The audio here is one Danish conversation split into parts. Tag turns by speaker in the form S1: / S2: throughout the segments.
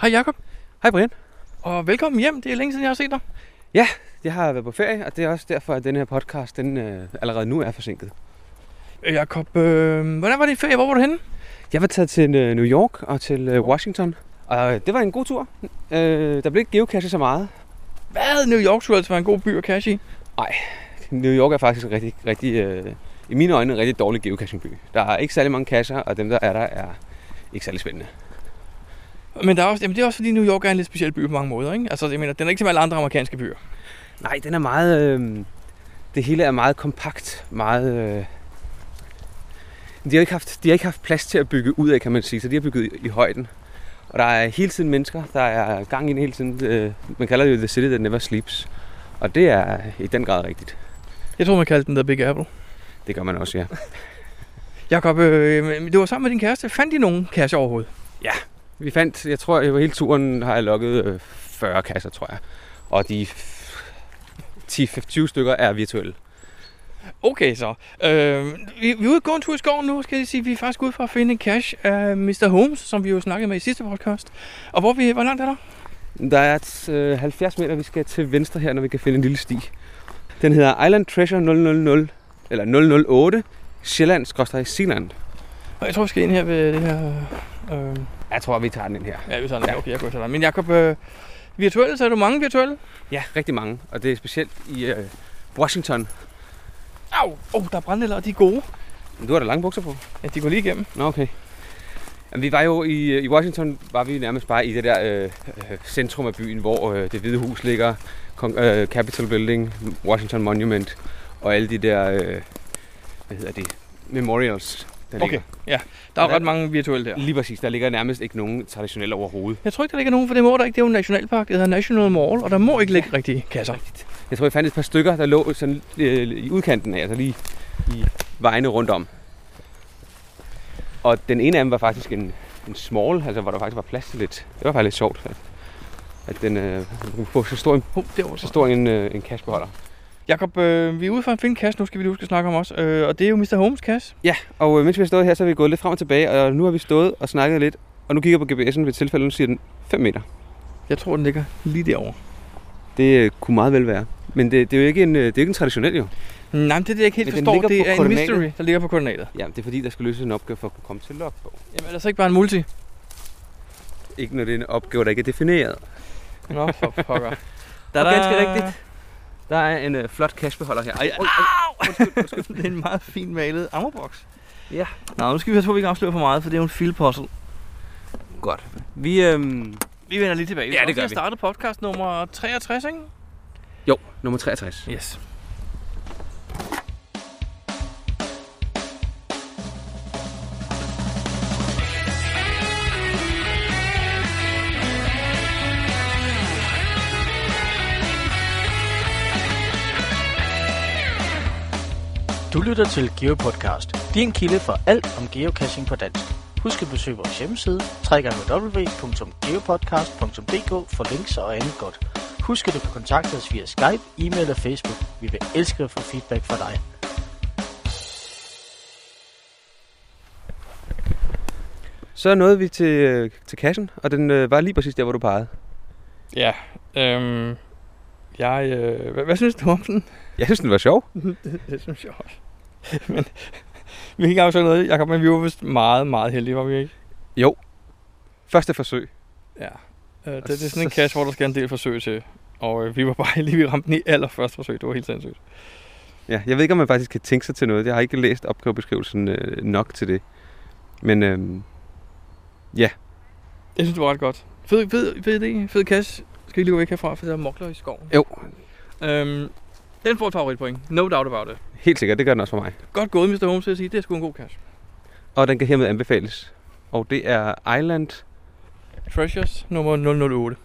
S1: Hej Jakob
S2: Hej Brian.
S1: og velkommen hjem. Det er længe siden, jeg har set dig.
S2: Jeg har været på ferie, og det er også derfor, at den her podcast den, øh, allerede nu er forsinket.
S1: Øh, Jakob, øh, hvordan var din ferie? Hvor var du henne?
S2: Jeg var taget til øh, New York og til øh, Washington, og øh, det var en god tur. Øh, der blev ikke geocache så meget.
S1: Hvad? New York skulle altså være en god by at cash i.
S2: New York er faktisk en rigtig, rigtig øh, i mine øjne en rigtig dårlig geocachingby. Der er ikke særlig mange kasser, og dem der er der er ikke særlig spændende.
S1: Men der er også, jamen det er også fordi New York er en lidt speciel by på mange måder, ikke? Altså, jeg mener, den er ikke som alle andre amerikanske byer.
S2: Nej, den er meget... Øh, det hele er meget kompakt, meget... Øh, de har, ikke haft, de har ikke haft plads til at bygge ud af, kan man sige, så de har bygget i, i højden. Og der er hele tiden mennesker, der er gang i den hele tiden. Øh, man kalder det jo The City That Never Sleeps. Og det er i den grad rigtigt.
S1: Jeg tror, man kaldte den der Big Apple.
S2: Det gør man også, ja.
S1: Jakob, øh, men du var sammen med din kæreste. Fandt I nogen cash overhovedet?
S2: Vi fandt, jeg tror, at hele turen har jeg lukket øh, 40 kasser, tror jeg. Og de f- 10-20 stykker er virtuelle.
S1: Okay, så. Øh, vi, vi er ude at gå en tur i skoven nu, skal jeg sige. Vi er faktisk ude for at finde en cash af Mr. Holmes, som vi jo snakkede med i sidste podcast. Og hvor, vi, hvor langt er der?
S2: Der er et, øh, 70 meter, vi skal til venstre her, når vi kan finde en lille sti. Den hedder Island Treasure 000, eller 008, Sjælland, Sealand.
S1: Og jeg tror, vi skal ind her ved det her... Øh,
S2: Jeg tror, vi tager den ind her.
S1: ja, vi tager den. Ja, Okay, jeg går til dig. Men Jakob, øh, virtuelle, så er du mange virtuelle?
S2: Ja, rigtig mange, og det er specielt i øh, Washington.
S1: Au, oh, der er brændenælder, og de er gode.
S2: Du har da lange bukser på.
S1: Ja, de går lige igennem.
S2: Nå, okay. Jamen, vi var jo i, øh, i Washington, var vi nærmest bare i det der øh, øh, centrum af byen, hvor øh, det hvide hus ligger, Kong, øh, Capitol Building, Washington Monument og alle de der, øh, hvad hedder det, memorials, der ligger.
S1: ja. Der er
S2: Hvordan-
S1: ret mange virtuelle der.
S2: Lige præcis, der ligger nærmest ikke nogen traditionelle overhovedet.
S1: Jeg tror ikke, der ligger nogen, for det må der ikke. Det er jo en nationalpark, det hedder National Mall, og der må ikke ligge rigtige kasser.
S2: Jeg tror, jeg fandt et par stykker, der lå sådan, øh, i udkanten af, altså lige i vejene rundt om. Og den ene af dem var faktisk en, en small, altså hvor der faktisk var plads til lidt. Det var faktisk lidt sjovt, at, at den øh, kunne få så stor en,
S1: Oh, derovre
S2: så
S1: så.
S2: stor en, øh, en kassebeholder.
S1: Jakob, øh, vi er ude for at finde kasse, nu skal vi lige huske at snakke om os. Øh, og det er jo Mr. Holmes kasse.
S2: Ja, og øh, mens vi har stået her, så har vi gået lidt frem og tilbage, og nu har vi stået og snakket lidt. Og nu kigger jeg på GPS'en ved et tilfælde, og nu siger den 5 meter.
S1: Jeg tror, den ligger lige derovre.
S2: Det øh, kunne meget vel være. Men det, det, er jo ikke en, øh, det er jo ikke en traditionel jo.
S1: Nej, men det er det, jeg ikke helt
S2: Men den
S1: forstår.
S2: ligger
S1: Det
S2: på
S1: er en
S2: koordinatet.
S1: mystery, der ligger på koordinatet.
S2: Ja, det er fordi, der skal løses en opgave for at kunne komme til logbog.
S1: Jamen, ellers er ikke bare en multi.
S2: Ikke når det er en opgave, der ikke er defineret.
S1: Nå, for pokker.
S2: Der er ganske rigtigt. Der er en øh, flot kassebeholder her. Ej, ej, ej. Undskyld, undskyld.
S1: det er en meget fint malet ammerboks.
S2: Ja.
S1: Nå, nu skal vi passe på, at vi ikke afslører for meget, for det er jo en filpuzzle.
S2: Godt. Vi, øhm,
S1: Vi vender lige tilbage.
S2: Ja, det gør
S1: vi. Vi
S2: vi.
S1: startede podcast nummer 63, ikke?
S2: jo, nummer 63.
S1: Yes.
S3: Du lytter til GeoPodcast, din kilde for alt om geocaching på dansk. Husk at besøge vores hjemmeside, www.geopodcast.dk for links og andet godt. Husk at du kan kontakte os via Skype, e-mail og Facebook. Vi vil elske at få feedback fra dig.
S2: Så nåede vi til, øh, til kassen, og den øh, var lige præcis der, hvor du pegede.
S1: Ja, øhm, jeg, øh, hvad, hvad synes du om den?
S2: Jeg synes, den var sjov.
S1: det, det synes jeg også. men vi kan ikke afsløre noget, Jacob, men vi var vist meget, meget heldige, var vi ikke?
S2: Første forsøg.
S1: Ja. Øh, det, det, er sådan en
S2: så-
S1: kasse, hvor der skal en del forsøg til. Og øh, vi var bare heldige, vi ramte den i allerførste forsøg. Det var helt sindssygt.
S2: Ja, jeg ved ikke, om man faktisk kan tænke sig til noget. Jeg har ikke læst opgavebeskrivelsen øh, nok til det. Men øhm,
S1: Jeg synes, det var ret godt. Fed, fed, fed idé, fed kasse. Skal ikke lige gå væk herfra, for der er mokler i skoven.
S2: Jo.
S1: Øhm, den får et favoritpoint. No doubt about it.
S2: helt sikkert, det gør den også for mig.
S1: Godt gået, Mr. Holmes, vil jeg sige. Det er sgu en god kasse.
S2: Og den kan hermed anbefales. Og det er Island.
S1: Treasures nummer 008.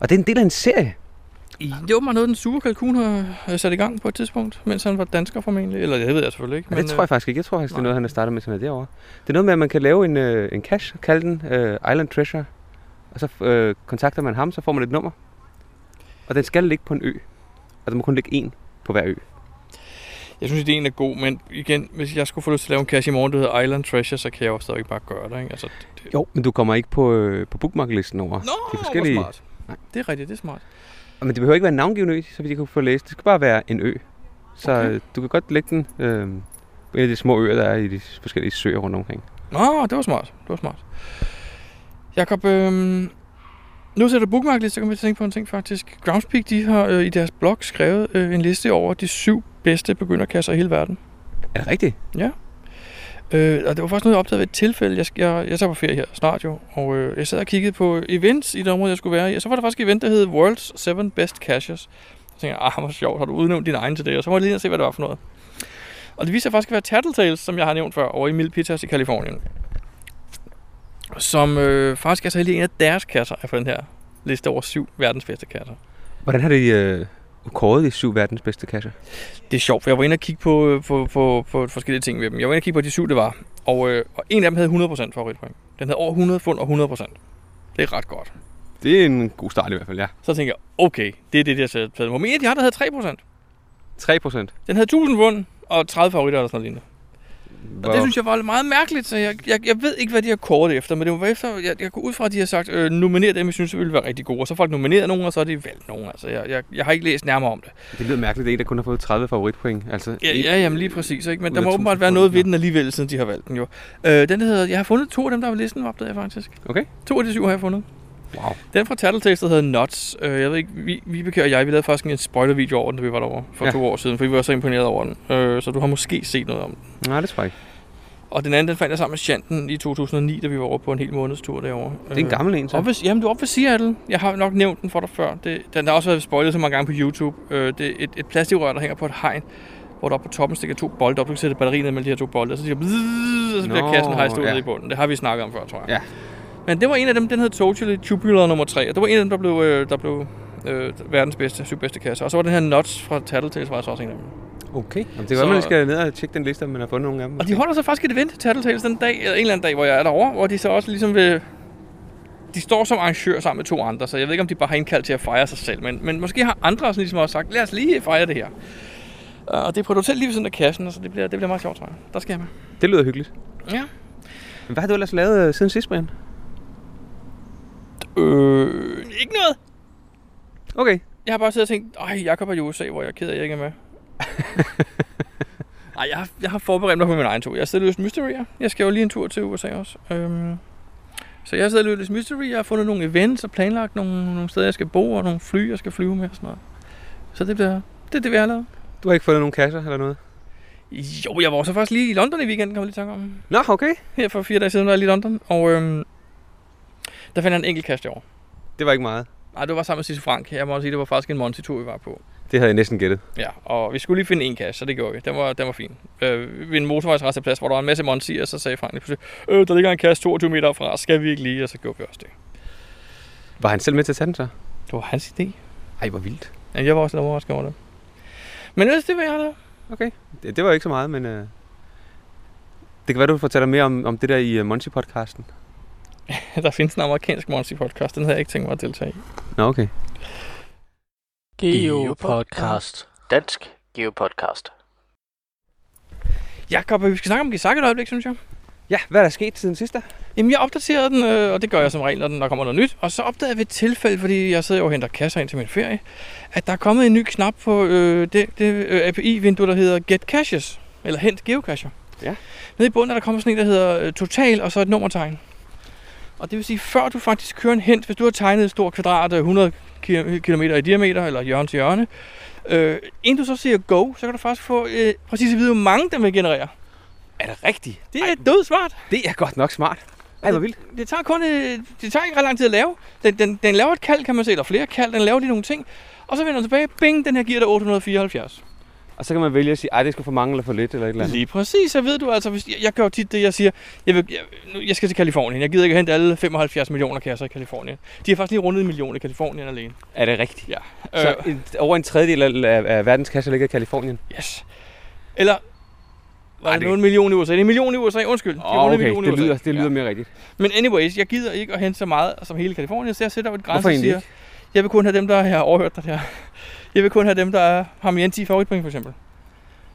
S2: Og det er en del af en serie.
S1: Det var mig noget, den sure kalkun har øh, sat i gang på et tidspunkt, mens han var dansker formentlig. Eller det ved jeg selvfølgelig ikke.
S2: Men, det tror jeg faktisk ikke. Jeg tror faktisk, det
S1: øh, nej.
S2: er noget, han har startet med, som er derovre. Det er noget med, at man kan lave en, øh, en cache, kalde den øh, Island Treasure, og så øh, kontakter man ham, så får man et nummer. Og den skal ligge på en ø. Og der må kun ligge en på hver ø.
S1: øh, Jeg synes, ideen er god, men igen, hvis jeg skulle få lyst til at lave en cache i morgen, der hedder Island Treasure, så kan jeg jo stadig bare gøre det, ikke? Altså, det, det...
S2: Jo, men du kommer ikke på, øh, på bookmarklisten over.
S1: Nå,
S2: de
S1: de
S2: er forskellige.
S1: smart.
S2: Nej.
S1: Det er rigtigt, det er smart.
S2: Men det behøver ikke være en navngivende ø, så vidt jeg kunne få læst. Det skal bare være en ø. Så
S1: Okay.
S2: okay. du kan godt lægge den øh, på en af de små øer, der er i de forskellige søer rundt omkring.
S1: Nå, det var smart. Det var smart. Jakob, øhm, nu sætter du bookmarkliste, så kommer jeg til at tænke på en ting faktisk. Groundspeak, de har øh, i deres blog skrevet øh, en liste over de syv bedste begynderkasser i hele verden.
S2: Er det rigtigt?
S1: Øh, og det var faktisk noget, jeg opdagede ved et tilfælde. Jeg, jeg, jeg tager på ferie her snart jo, og øh, jeg sad og kiggede på events i det område, jeg skulle være i. Og så var der faktisk et event, der hed World's 7 Best Caches. Så tænkte jeg, ah, hvor sjovt, har du udnævnt din egen til det? Og så må jeg lige ind og se, hvad det var for noget. Og det viste sig faktisk at være Tattletales, som jeg har nævnt før, over i Milpitas i Kalifornien. Som øh, faktisk er så heldig en af deres kasser er på den her liste over syv verdens bedste kasser.
S2: Hvordan har de øh, kåret de syv verdens bedste kasser?
S1: Det er sjovt, for jeg var inde og kigge på, øh, på, på, på forskellige ting ved dem. Jeg var inde og kigge på de syv, det var. Og, øh, og en af dem havde 100% favoritpoint. Den havde over 100 fund og 100%. Det er ret godt.
S2: Det er en god start i hvert fald, ja.
S1: Så tænkte jeg, okay, det er det, jeg sætter på. Men en af de andre havde 3%.
S2: 3 procent.
S1: Den havde 1000 fund og 30 favoritter eller sådan noget lignende. Og det synes jeg var meget mærkeligt, så jeg, jeg, jeg ved ikke, hvad de har kåret det efter, men det var efter, jeg, jeg går ud fra, at de har sagt, øh, nominer dem, jeg synes, ville være rigtig gode, og så har folk nomineret nogen, og så har de valgt nogen, altså jeg, jeg, jeg har ikke læst nærmere om det.
S2: Det lyder mærkeligt, det er en, der kun har fået 30 favoritpoint. Altså,
S1: Ja,
S2: en-
S1: ja jamen lige præcis, ikke? men
S2: ud
S1: der
S2: af
S1: må
S2: 1000
S1: åbenbart være noget ved
S2: kroner.
S1: den alligevel, siden de har valgt den jo. Øh, den der hedder, jeg har fundet to af dem, der er på listen, opdagede jeg faktisk.
S2: Okay.
S1: To af de syv har jeg fundet.
S2: Wow.
S1: Den fra Tattletales, der hedder Nuts. Øh, jeg ved ikke, vi, Vibeke og jeg, vi lavede faktisk en spoilervideo over den, da vi var derovre for
S2: Ja.
S1: ja. to år siden, for vi var så imponeret over den. Øh, så du har måske set noget om den.
S2: Nej, det tror jeg ikke.
S1: Og den anden, den fandt jeg sammen med Shanten i 2009, da vi var over på en hel måneds tur derovre. Øh,
S2: Det er en gammel en, så.
S1: Op ved, jamen, du er oppe ved Seattle. Jeg har nok nævnt den for dig før. Det, den har også været spoilet så mange gange på YouTube. Øh, det er et, et plastikrør, der hænger på et hegn, hvor der oppe på toppen stikker to bolde op. Du kan sætte batteriet ned mellem de her to bolde, og så siger bzzz, og så bliver
S2: Nå,
S1: kassen hejst ud
S2: ja.
S1: ja. i bunden. Det har vi snakket om før, tror jeg.
S2: Ja.
S1: Men det var en af dem, den hed Totally Tubular nummer 3, og det var en af dem, der blev, øh, der blev øh, verdens bedste, syv bedste kasser. Og så var den her Nuts fra Tattletales, var altså også en af dem.
S2: Okay. Jamen, det er godt,
S1: Så-
S2: man lige skal ned og tjekke den liste, om man har fundet nogle af dem.
S1: Og de holder så faktisk et event, Tattletales, den dag, eller en eller anden dag, hvor jeg er derovre, hvor de så også ligesom vil... De står som arrangør sammen med to andre, så jeg ved ikke, om de bare har indkaldt til at fejre sig selv, men, men måske har andre sådan ligesom også sagt, lad os lige fejre det her. Øh, Og det er på et hotel lige ved siden af kassen, så det bliver, det bliver meget sjovt, tror jeg. Der skal jeg med.
S2: Det lyder hyggeligt.
S1: Ja.
S2: Men hvad har du ellers lavet øh, siden sidst, Brian?
S1: Øh, ikke noget.
S2: Okay.
S1: Jeg har bare siddet og tænkt, ej, Jacob er i USA, hvor jeg er ked af, at jeg ikke er med. Nej, jeg, har, jeg har forberedt mig på min egen tur. Jeg har siddet og løst mysterier. Jeg skal jo lige en tur til USA også. Øhm, så jeg har siddet og løst mystery. Jeg har fundet nogle events og planlagt nogle, nogle steder, jeg skal bo, og nogle fly, jeg skal flyve med og sådan noget. Så det bliver, det er det, vi har lavet.
S2: Du har ikke fundet nogen kasser eller noget?
S1: Jo, jeg var så faktisk lige i London i weekenden, kom jeg lige i tanke om.
S2: Nå, okay.
S1: Her for fire dage siden var jeg lige i London, og øhm, der fandt jeg en enkelt kasse over.
S2: Det var ikke meget.
S1: Nej, det var sammen med Sisse Frank. Jeg må også sige, det var faktisk en Monty-tur, vi var på.
S2: Det havde jeg næsten gættet.
S1: Ja, og vi skulle lige finde en kasse, så det gjorde vi. Den var, den var fin. Øh, ved en motorvejsresteplads, hvor der var en masse monsier, så sagde Frank lige pludselig, øh, der ligger en kasse 22 meter fra, skal vi ikke lige? Og så gjorde vi også det.
S2: Var han selv med til at tage den så?
S1: Det var hans idé.
S2: Ej, hvor vildt.
S1: Men jeg var også lidt overrasket over det. Men ellers, det var jeg der.
S2: Okay. Det, det var ikke så meget, men... Øh... Det kan være, du fortæller mere om, om det der i uh, Monty-podcasten.
S1: Der findes en amerikansk monster podcast, den havde jeg ikke tænkt mig at deltage i.
S2: Nå, okay.
S3: Geopodcast. Dansk Geopodcast.
S1: Jakob, øh, vi skal snakke om Gisak et øjeblik, synes jeg.
S2: Ja, hvad er der sket siden sidst da?
S1: Jamen, jeg opdaterede den, øh, og det gør jeg som regel, når den- der kommer noget nyt. Og så opdagede jeg ved et tilfælde, fordi jeg sidder jo og henter kasser ind til min ferie, at der er kommet en ny knap på øh, det, det øh, API-vindue, der hedder Get Caches, eller Hent Geocacher.
S2: Ja.
S1: Nede i bunden er der kommet sådan en, der hedder øh, Total, og så et nummertegn. Og det vil sige, før du faktisk kører en hent, hvis du har tegnet et stort kvadrat øh, 100 km i diameter, eller hjørne til hjørne, øh, inden du så siger go, så kan du faktisk få øh, præcis at vide, hvor mange den vil generere.
S2: Er det rigtigt?
S1: Det er dødsmart.
S2: Det er godt nok smart. Ej, hvor vildt.
S1: det tager kun øh, det tager ikke ret lang tid at lave. Den, den, den laver et kald, kan man se, eller flere kald, den laver lige nogle ting. Og så vender den tilbage, bing, den her giver dig 874.
S2: Og så kan man vælge at sige, ej, det skal for mange eller for lidt eller et eller andet.
S1: Lige præcis, så ved du altså, hvis, jeg, jeg gør jo tit det, jeg siger, jeg, vil, jeg, nu, jeg skal til Kalifornien, jeg gider ikke hente alle 75 millioner kasser i Kalifornien. De har faktisk lige rundet en million i Kalifornien alene.
S2: Er det rigtigt?
S1: Ja.
S2: Så
S1: Øh,
S2: en, over en tredjedel af, af, af verdens kasser ligger i Kalifornien.
S1: yes. Eller, var
S2: Ej,
S1: det
S2: det-
S1: nu en million i USA? Det er en million i USA, undskyld. De har rundet en million i
S2: det
S1: USA.
S2: lyder, det lyder
S1: altså. Ja.
S2: mere rigtigt.
S1: Men anyways, jeg gider ikke at hente så meget som hele Kalifornien, så jeg sætter jo et
S2: Hvorfor
S1: grænse og
S2: egentlig
S1: siger, jeg vil kun have dem, der har overhørt dig der. Jeg vil kun have dem, der har mere end 10 favoritpoint, for eksempel.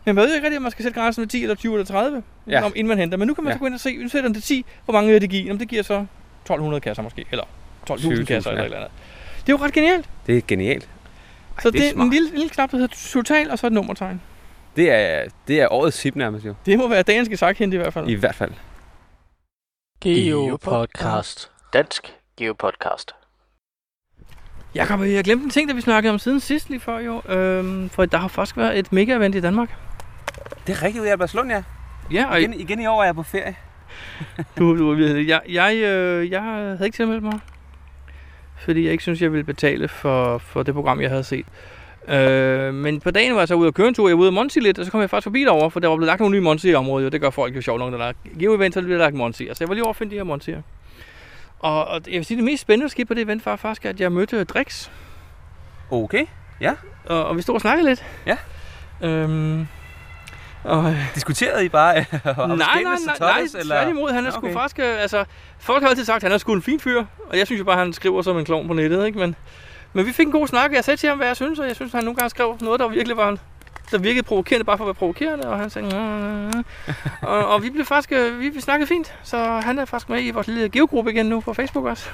S1: Men man ved jo ikke rigtigt, om man skal sætte grænsen ved 10 eller 20 eller 30,
S2: Ja.
S1: ja. om, inden man henter. Men nu kan man ja.
S2: Ja.
S1: så gå ind og se, nu sætter den til 10, hvor mange vil det give? Jamen, det giver så 1200 kasser måske, eller 12.000 kasser
S2: 20.000,
S1: eller
S2: ja.
S1: et eller andet. Det er jo ret genialt.
S2: Det er genialt. Ej,
S1: så det,
S2: det,
S1: er en
S2: lille...
S1: lille, lille knap, der hedder total, og så et nummertegn.
S2: det, er, det er årets sip nærmest jo.
S1: Det må være dagens gesaghente i hvert fald.
S2: I hvert fald.
S3: Geopodcast. Dansk Geopodcast.
S1: Jakob, jeg glemte en ting, der vi snakkede om siden sidst lige før jo. Øhm, for der har faktisk været et mega-event i Danmark.
S2: Det er rigtigt ud i Albertslund, ja.
S1: Ja, og
S2: Igen, igen i år er jeg på ferie.
S1: du, du, jeg, jeg, øh, jeg havde ikke tilmeldt mig. Fordi jeg ikke synes, jeg ville betale for, for det program, jeg havde set. Øh, men på dagen var jeg så ude og køre en tur, jeg var ude og Monsi lidt, og så kom jeg faktisk forbi derovre, for der var blevet lagt nogle nye Monsi i området, og det gør folk jo sjovt nok, når der er geo-event, så bliver der lagt Monsi'er. Så jeg var lige over at finde de her Monsi'er. Og, og, jeg vil sige, det mest spændende, der skete på det event, var faktisk, at jeg mødte Drix,
S2: Okay.
S1: og, og vi stod og snakkede lidt.
S2: Ja.
S1: Øhm, og,
S2: Diskuterede I bare? øh,
S1: nej,
S2: om
S1: nej, nej,
S2: skændtes til
S1: nej,
S2: Thomas, eller?
S1: tværtimod, han er
S2: Nå,
S1: sgu
S2: okay.
S1: faktisk, øh, altså, folk har altid sagt, at han er sgu en fin fyr, og jeg synes jo bare, at han skriver som en klovn på nettet, ikke, men, men vi fik en god snak, og jeg sagde til ham, hvad jeg synes, og jeg synes, at han nogle gange skrev noget, der virkelig var, der virkede provokerende, bare for at være provokerende, og han sagde, "Nå." og, og vi blev faktisk, øh, vi, vi snakkede fint, så han er faktisk med i vores lille geogruppe igen nu på Facebook også.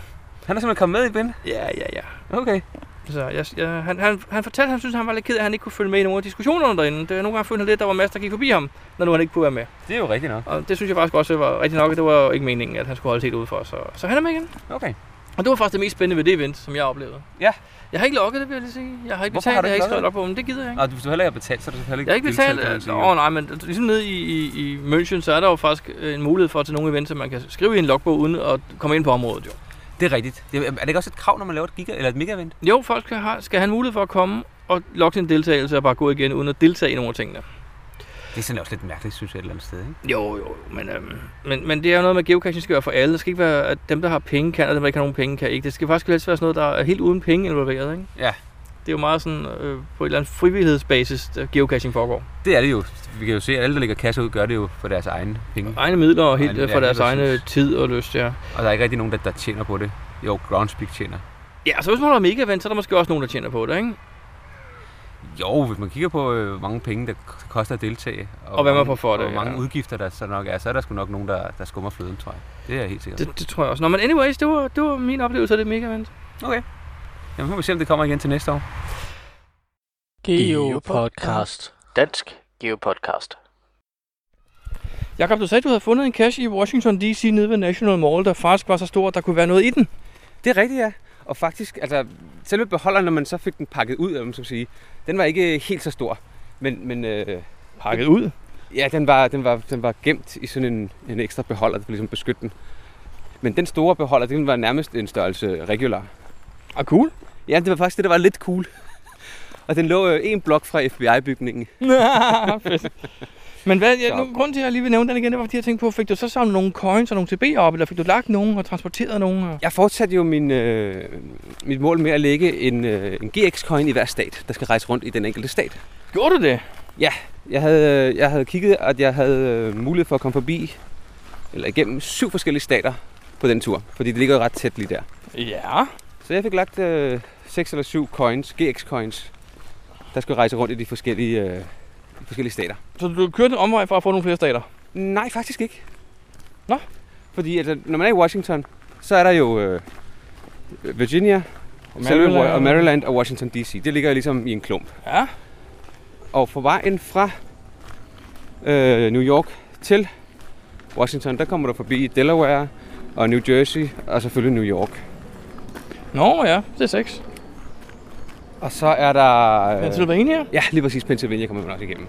S2: Han er simpelthen kommet med i bind.
S1: Ja, ja, ja.
S2: Okay.
S1: Så jeg, jeg, han, han, han fortalte, at han synes, han var lidt ked af, at han ikke kunne følge med i nogle af diskussionerne derinde. Det, nogle gange følte han lidt, at der var masser, der gik forbi ham, når nu han ikke kunne være med.
S2: Det er jo rigtigt nok.
S1: Og det synes jeg faktisk også var rigtig nok, at det var jo ikke meningen, at han skulle holde sig helt ude for os. Så, så han er med igen.
S2: Okay.
S1: Og det var faktisk det mest spændende ved det event, som jeg oplevede.
S2: Ja.
S1: Jeg har ikke logget det, vil jeg lige sige. Jeg har ikke
S2: Hvorfor
S1: betalt,
S2: har du
S1: jeg har
S2: ikke
S1: ikke skrevet log
S2: logget
S1: på, men det gider jeg ikke.
S2: Og hvis du heller ikke har betalt, så er du selvfølgelig
S1: Jeg har ikke betalt.
S2: deltaget, kan man
S1: øh,
S2: sige.
S1: Åh nej, men ligesom nede i, i, i München, så er der jo faktisk øh, en mulighed for til nogle events, at man kan skrive i en logbog uden at komme ind på området. Jo,
S2: Det er rigtigt. Det er, er det ikke også et krav, når man laver et giga eller et mega event?
S1: jo folk skal have, skal have en mulighed for at komme og logge sin deltagelse og bare gå igen uden at deltage i nogle af tingene.
S2: Det er sådan også lidt mærkeligt, synes jeg, et eller andet sted, ikke?
S1: Jo, jo, men, øhm, men, men det er jo noget med, at geocaching skal være for alle. Det skal ikke være, at dem, der har penge, kan, og dem, der ikke har nogen penge, kan ikke. Det skal faktisk helst være sådan noget, der er helt uden penge involveret, ikke?
S2: Ja.
S1: Det er jo meget sådan, øh, på et eller andet frivillighedsbasis, at geocaching foregår.
S2: Det er det jo. Vi kan jo se, at alle, der lægger kasse ud, gør det jo for deres egne penge.
S1: Egne midler og helt
S2: Egne-
S1: øh,
S2: ja,
S1: for deres
S2: lige
S1: egne
S2: præcis.
S1: tid og lyst, ja.
S2: Og der er ikke rigtig nogen, der, der tjener på det. Jo, Groundspeak tjener.
S1: Ja, så hvis man holder mega event, så er der måske også nogen, der tjener på det, ikke?
S2: Jo, hvis man kigger på, øh, hvor mange penge, der k- koster at deltage.
S1: Og hvad man
S2: mange-
S1: får for det,
S2: Og hvor mange
S1: ja.
S2: udgifter, der så nok er. Så er der sgu nok nogen, der, der skummer fløden, tror jeg. Det er jeg helt sikkert.
S1: Det, det tror jeg også. Nå, men anyways, det var, det var min oplevelse af det mega event.
S2: Jamen, nu må vi se, om det kommer igen til næste år.
S3: Geopodcast. Dansk Geopodcast.
S1: Jakob, du sagde, at du havde fundet en cache i Washington D.C. nede ved National Mall, der faktisk var så stor, at der kunne være noget i den.
S2: Det er rigtigt, ja. Og faktisk, altså, selve beholderen, når man så fik den pakket ud, om man skal sige, den var ikke øh, helt så stor. Men, men øh,
S1: Pakket ud.
S2: ja, den var, den, var, den var gemt i sådan en, en ekstra beholder, der kunne ligesom beskytte den. Men den store beholder, den var nærmest en størrelse regular.
S1: Ah, cool.
S2: Ja, det var faktisk det, der var lidt cool. Og den lå øh, en blok fra FBI-bygningen.
S1: Fedt. Men hvad, jeg,
S2: Så.
S1: nu, grunden til, at jeg lige vil nævne den igen, det var, fordi jeg tænkte på, fik du så samlet nogle coins og nogle TB'er op, eller fik du lagt nogen og transporteret nogen? Og...
S2: Jeg fortsatte jo min, øh, mit mål med at lægge en, øh, en GX-coin i hver stat, der skal rejse rundt i den enkelte stat.
S1: Gjorde du det?
S2: Jeg havde, øh, jeg havde kigget, at jeg havde øh, mulighed for at komme forbi, eller igennem syv forskellige stater på den tur, fordi det ligger jo ret tæt lige der.
S1: Ja.
S2: Så jeg fik lagt øh, seks eller syv coins, GX-coins, der skulle rejse rundt i de forskellige, øh, de forskellige stater.
S1: Så du kørte en omvej for at få nogle flere stater?
S2: Nej, faktisk ikke.
S1: Nå.
S2: Fordi altså, når man er i Washington, så er der jo øh, Virginia, Maryland. og Maryland og Washington D.C. Det ligger jo ligesom i en klump.
S1: Ja.
S2: Og på vejen fra øh, New York til Washington, der kommer du forbi Delaware og New Jersey og selvfølgelig New York.
S1: Nå ja, det er seks.
S2: Og så er der...
S1: Øh. Pennsylvania?
S2: ja, lige præcis Pennsylvania kommer man også igennem.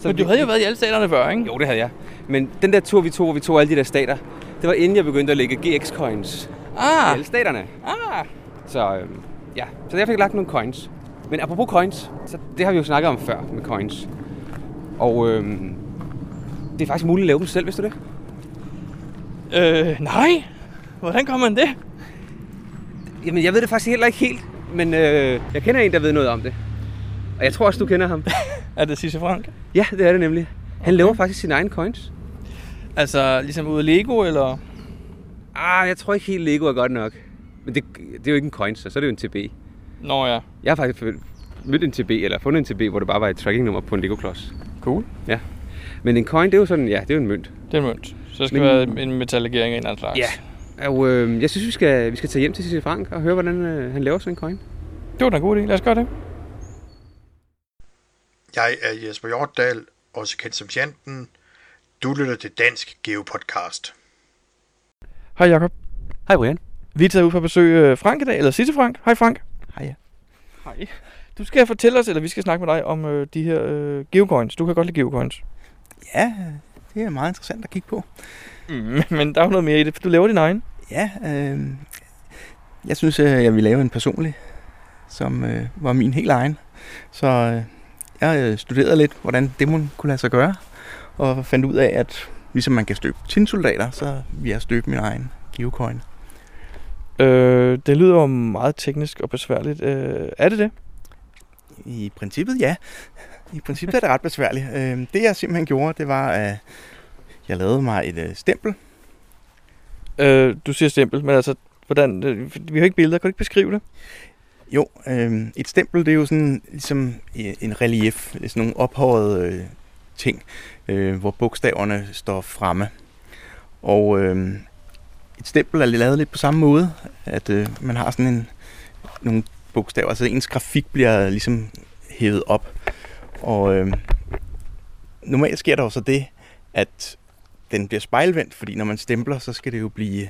S2: Så
S1: Men
S2: vi-
S1: du havde jo været i alle staterne før, ikke?
S2: Jo, det havde jeg. Men den der tur, vi tog, hvor vi tog alle de der stater, det var inden jeg begyndte at lægge GX-coins i
S1: Ah,
S2: alle staterne.
S1: ah.
S2: Så øhm, ja, så jeg fik lagt nogle coins. Men apropos coins, så det har vi jo snakket om før med coins. Og øhm, det er faktisk muligt at lave dem selv, hvis du det.
S1: Øh, nej. Hvordan kommer man det?
S2: Jamen, jeg ved det faktisk heller ikke helt, men øh, jeg kender en, der ved noget om det. Og jeg tror også, du kender ham.
S1: Er det Sisse Frank?
S2: ja, det er det nemlig. Han laver faktisk sine egne coins.
S1: Altså, ligesom ude af Lego, eller?
S2: Ah, jeg tror ikke helt Lego er godt nok. Men det, det er jo ikke en coin, så, så er det jo en TB.
S1: Nå ja.
S2: Jeg har faktisk mødt en TB, eller fundet en TB, hvor det bare var et trackingnummer på en Lego-klods.
S1: Cool.
S2: Men en coin, det er jo sådan, ja, det er jo en mønt.
S1: Det er en mønt. Så det skal
S2: Men-
S1: være en metallegering af en eller anden slags.
S2: Ja. Og øh, jeg synes, vi skal, vi skal tage hjem til Cecil Frank og høre, hvordan øh, han laver sådan en coin.
S1: Det var da en god idé. Lad os gøre det.
S4: Jeg er Jesper Hjortdal, også kendt som Janten. Du lytter til Dansk Geopodcast.
S1: Hej Jakob.
S2: Hej Brian.
S1: Vi er taget ud for at besøge øh, Frank i dag, eller Sisse Frank. Hej Frank.
S5: Hej.
S1: Hej. Du skal fortælle os, eller vi skal snakke med dig om øh, de her øh, geocoins. Du kan godt lide geocoins.
S5: Ja, det er meget interessant at kigge på.
S1: Mm. Men der er jo noget mere i det, for du laver din egen.
S5: Ja, øh, jeg synes, øh, jeg vil lave en personlig, som øh, var min helt egen. Så øh, jeg øh, studerede lidt, hvordan demon kunne lade sig gøre, og fandt ud af, at ligesom man kan støbe tinsoldater, så vil jeg støbe min egen geocoin.
S1: Øh, det lyder jo meget teknisk og besværligt. Øh, er det det?
S5: I princippet ja. I princippet er det ret besværligt. Øh, det jeg simpelthen gjorde, det var, at jeg lavede mig et øh, stempel.
S1: Øh, du siger simpelt, men altså, hvordan, øh, vi har ikke billeder. Kan du ikke beskrive det?
S5: Jo, øh, et stempel det er jo sådan ligesom øh, en relief, sådan nogle ophøjede øh, ting, øh, hvor bogstaverne står fremme. Og øh, et stempel er lavet lidt på samme måde, at øh, man har sådan en, nogle bogstaver, så ens grafik bliver ligesom hævet op. Og øh, normalt sker der jo så det, at den bliver spejlvendt, fordi når man stempler, så skal det jo blive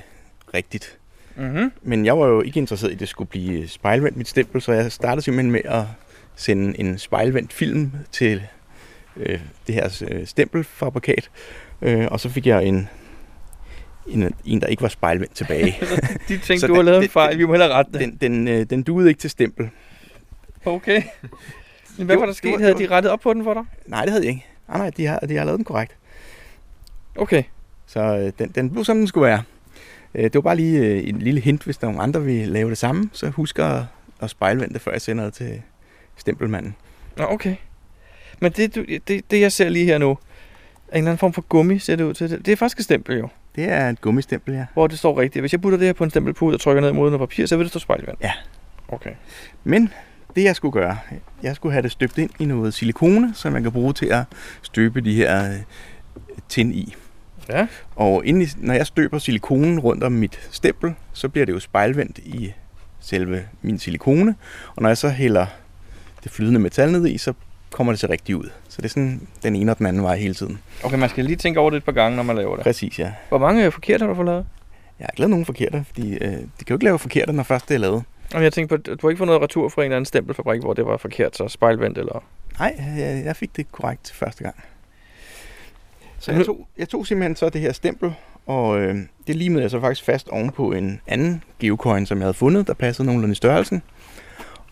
S5: rigtigt.
S1: Mm-hmm.
S5: Men jeg var jo ikke interesseret i, at det skulle blive spejlvendt mit stempel, så jeg startede simpelthen med at sende en spejlvendt film til øh, det her øh, stempelfabrikat, øh, og så fik jeg en, en, en, der ikke var spejlvendt tilbage.
S1: De tænkte,
S5: Så
S1: du har
S5: den-
S1: lavet en
S5: det-
S1: fejl.
S5: det-
S1: Vi må hellere rette det.
S5: den, den, øh, den duede ikke til stempel.
S1: Okay. Men hvad
S5: Jo,
S1: var der
S5: det
S1: sket?
S5: var-
S1: Havde
S5: det
S1: de rettet op på den for dig?
S5: Nej, det havde jeg ikke. Ah, Nej, nej, de har, de har lavet den korrekt.
S1: Okay.
S5: Så øh, den, den blev, som den skulle være. Øh, det var bare lige øh, en lille hint, hvis der er nogen andre, der vil lave det samme, så husk at, at spejlvende det, før jeg sender det til stempelmanden.
S1: Nå, okay. Men det, du, det, det, jeg ser lige her nu, er en eller anden form for gummi, ser det ud til. Det er faktisk et stempel jo,
S5: Det er et gummistempel, ja.
S1: hvor det står rigtigt. Hvis jeg putter det her på en stempelpude og trykker ned mod noget papir, så vil det stå spejlvand.
S5: Ja.
S1: Okay.
S5: Men det jeg skulle gøre, jeg skulle have det støbt ind i noget silikone, som man kan bruge til at støbe de her øh, tin i.
S1: Ja.
S5: Og inde i, når jeg støber silikonen rundt om mit stempel, så bliver det jo spejlvendt i selve min silikone. Og når jeg så hælder det flydende metal ned i, så kommer det så rigtigt ud. Så det er sådan den ene og den anden vej hele tiden.
S1: Okay, man skal lige tænke over det et par gange, når man laver det.
S5: Præcis, ja.
S1: Hvor mange øh, forkerte har du fået lavet?
S5: Jeg har ikke lavet nogen forkerte, fordi øh, de kan jo ikke lave forkerte, når først det er lavet.
S1: Jamen, jeg tænkte på, at du har ikke fået noget retur fra en eller anden stempelfabrik, hvor det var forkert, så spejlvendt eller...
S5: Nej, jeg, jeg fik det korrekt første gang. Så
S1: Nu-
S5: jeg tog, jeg tog simpelthen så det her stempel, og øh, det limede jeg så faktisk fast ovenpå en anden geocoin, som jeg havde fundet, der passede nogenlunde i størrelsen.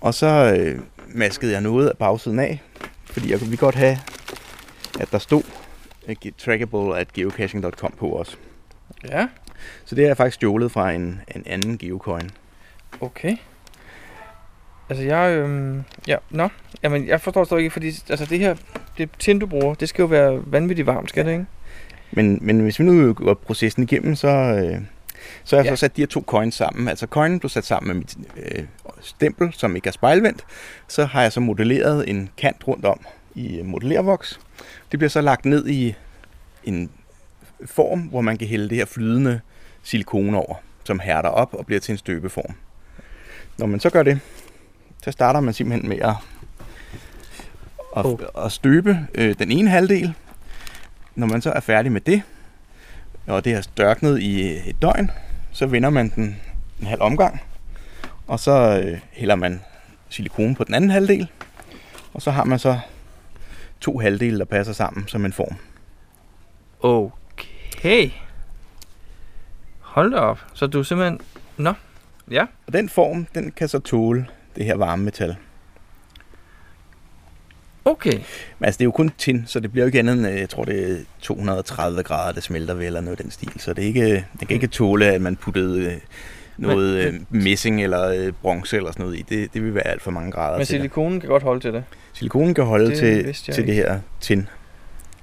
S5: Og så øh, maskede jeg noget af bagsiden af, fordi jeg ville godt have, at der stod øh, ge- trackable at geocaching.com på os.
S1: Ja.
S5: Så det har jeg faktisk stjålet fra en, en anden geocoin.
S1: Okay. Altså jeg, øhm, ja, nå. Jamen, jeg forstår stadig ikke, fordi altså det her, det tin, du bruger, det skal jo være vanvittigt varmt, skal det ikke?
S5: Men, men hvis vi nu går processen igennem, så, øh, så har jeg
S1: Ja.
S5: ja. så sat de her to coins sammen. Altså coinen blev sat sammen med mit øh, stempel, som ikke er spejlvendt. Så har jeg så modelleret en kant rundt om i øh, modellervoks. Det bliver så lagt ned i en form, hvor man kan hælde det her flydende silikone over, som hærder op og bliver til en støbeform. Når man så gør det, så starter man simpelthen med at, at, at støbe øh, den ene halvdel. Når man så er færdig med det, og det har størknet i et døgn, så vender man den en halv omgang, og så øh, hælder man silikone på den anden halvdel, og så har man så to halvdele, der passer sammen som en form.
S1: Okay. Hold da op. Så du er simpelthen... Nå. Ja.
S5: Og den form, den kan så tåle det her varme metal.
S1: Okay.
S5: Men altså, det er jo kun tin, så det bliver jo ikke andet end, øh, jeg tror, det er 230 grader, det smelter ved, eller noget i den stil. Så det er ikke, det kan ikke tåle, at man puttede øh, noget øh, messing eller øh, bronze eller sådan noget i. Det, det vil være alt for mange grader.
S1: Men
S5: til det.
S1: silikonen kan godt holde til det.
S5: Silikonen kan holde
S1: Det
S5: det til,
S1: vidste jeg
S5: til det
S1: ikke.
S5: her tin,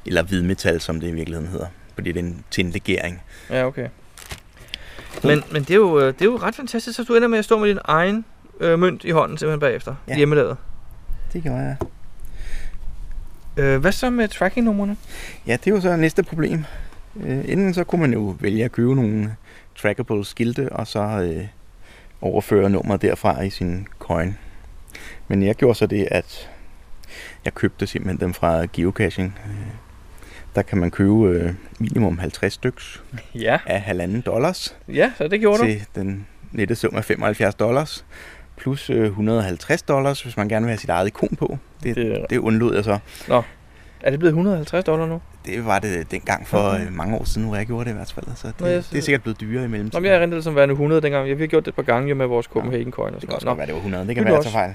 S5: eller hvidmetal, som det i virkeligheden hedder, fordi det er en tinlegering.
S1: Ja, okay. Men, men det, er jo, øh, det er jo ret fantastisk, så du ender med at stå med din egen øh, mønt i hånden simpelthen bagefter. Ja.
S5: Ja.
S1: Hjemmelavet.
S5: Det gjorde jeg.
S1: Øh, hvad så med tracking-numrene?
S5: Ja, det er jo så næste problem. Øh, inden så kunne man jo vælge at købe nogle trackable skilte, og så øh, overføre nummeret derfra i sin coin. Men jeg gjorde så det, at jeg købte simpelthen dem fra geocaching. Øh, Der kan man købe øh, minimum 50 styks
S1: Ja.
S5: af halvanden dollars
S1: Ja, så det gjorde du.
S5: til den nette sum af 75 dollars, plus øh, 150 dollars, hvis man gerne vil have sit eget ikon på. Det, det,
S1: Det-
S5: det undlod jeg så.
S1: Er det blevet 150 dollar nu?
S5: Det var det dengang for
S1: Okay.
S5: okay. mange år siden, hvor jeg gjorde det i hvert fald. Så det,
S1: Nå,
S5: Nå,
S1: jeg
S5: det er
S1: synes-
S5: sikkert blevet dyrere i
S1: Nå,
S5: mellemtiden.
S1: men jeg erindrer det som værende 100 dengang. Jeg har gjort det et par gange jo med vores Copenhagen Coin. Og
S5: det
S1: sådan
S5: kan også
S1: noget.
S5: godt være, det var 100. Det
S1: Det
S5: kan være, jeg
S1: også.
S5: tager fejl.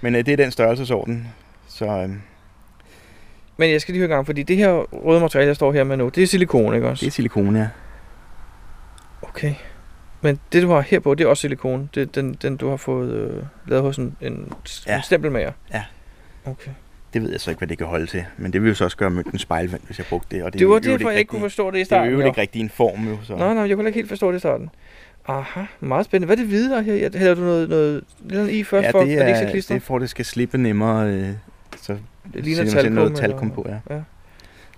S5: Men øh, det er den størrelsesorden. Så øh,
S1: Nå, men jeg skal lige høre i gang, fordi det her røde materiale, jeg står her med nu, det er silikon, ikke også?
S5: det er silikone, ja.
S1: Okay. Men det, du har her på, det er også silikon. Det er den, den du har fået øh, lavet hos en, en, ja.
S5: Ja.
S1: en stempelmager.
S5: Ja.
S1: Okay.
S5: Det ved jeg så ikke, hvad det kan holde til. Men det vil jo så også gøre mønten spejlvendt, hvis jeg brugte det. Og
S1: Det,
S5: er
S1: det
S5: jo i
S1: var
S5: øvrigt
S1: derfor, jeg ikke
S5: rigtig-
S1: kunne forstå det i
S5: Det er jo i
S1: starten.
S5: øvrigt
S1: jo.
S5: ikke rigtig en form, jo. Så.
S1: Nej, nej, jeg kunne heller ikke helt forstå det i starten. Aha, meget spændende. Hvad er det hvide der er her? Jeg- Hælder du noget, noget, noget i først,
S5: ja,
S1: for,
S5: det er,
S1: at det ikke skal
S5: det
S1: klistre?
S5: er for, at det skal slippe nemmere. Øh, så
S1: det
S5: ligner
S1: ligner
S5: talkum,
S1: talkum.
S5: noget
S1: eller-
S5: talkum på, ja.
S1: ja.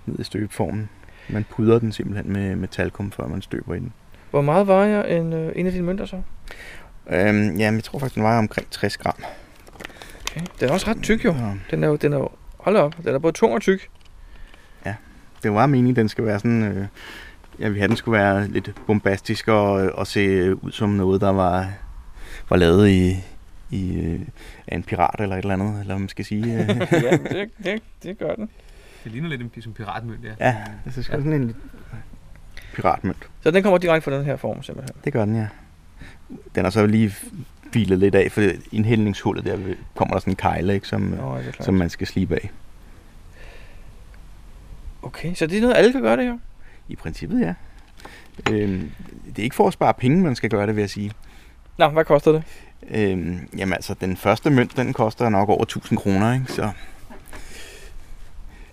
S5: Ned i støbeformen. Man pudrer den simpelthen med, med talkum, før man støber i den.
S1: Hvor meget vejer en, øh, en af dine mønter så?
S5: Øhm, ja, men jeg tror faktisk, den vejer omkring 60 gram.
S1: Okay. Den er også ret tyk jo.
S5: Så
S1: Den er jo, den er jo, hold da op, den er både tung og tyk.
S5: det var meningen, den skal være sådan... Øh, jeg ville have, den skulle være lidt bombastisk og, og se ud som noget, der var, var lavet i, i, øh, af en pirat eller et eller andet, eller hvad man skal sige. øh.
S1: ja, det, det, det gør den.
S2: Det ligner lidt en, en piratmønt, ja.
S5: ja, det er sgu sådan en piratmønt.
S1: Så den kommer direkte fra den her form simpelthen.
S5: Det gør den, ja. Den er så lige filet lidt af, for indhældningshullet der ved- kommer der sådan en kejle, ikke, som, øh,
S1: Nå, ja, det er klart.
S5: som man skal slibe af.
S1: Okay, så det er noget, alle kan gøre det her?
S5: I princippet, ja. Øhm, det er ikke for at spare penge, man skal gøre det, vil jeg sige.
S1: Nå, hvad koster det?
S5: Øhm, jamen altså, den første mønt, den koster nok over 1000 kroner, ikke? Så, ja,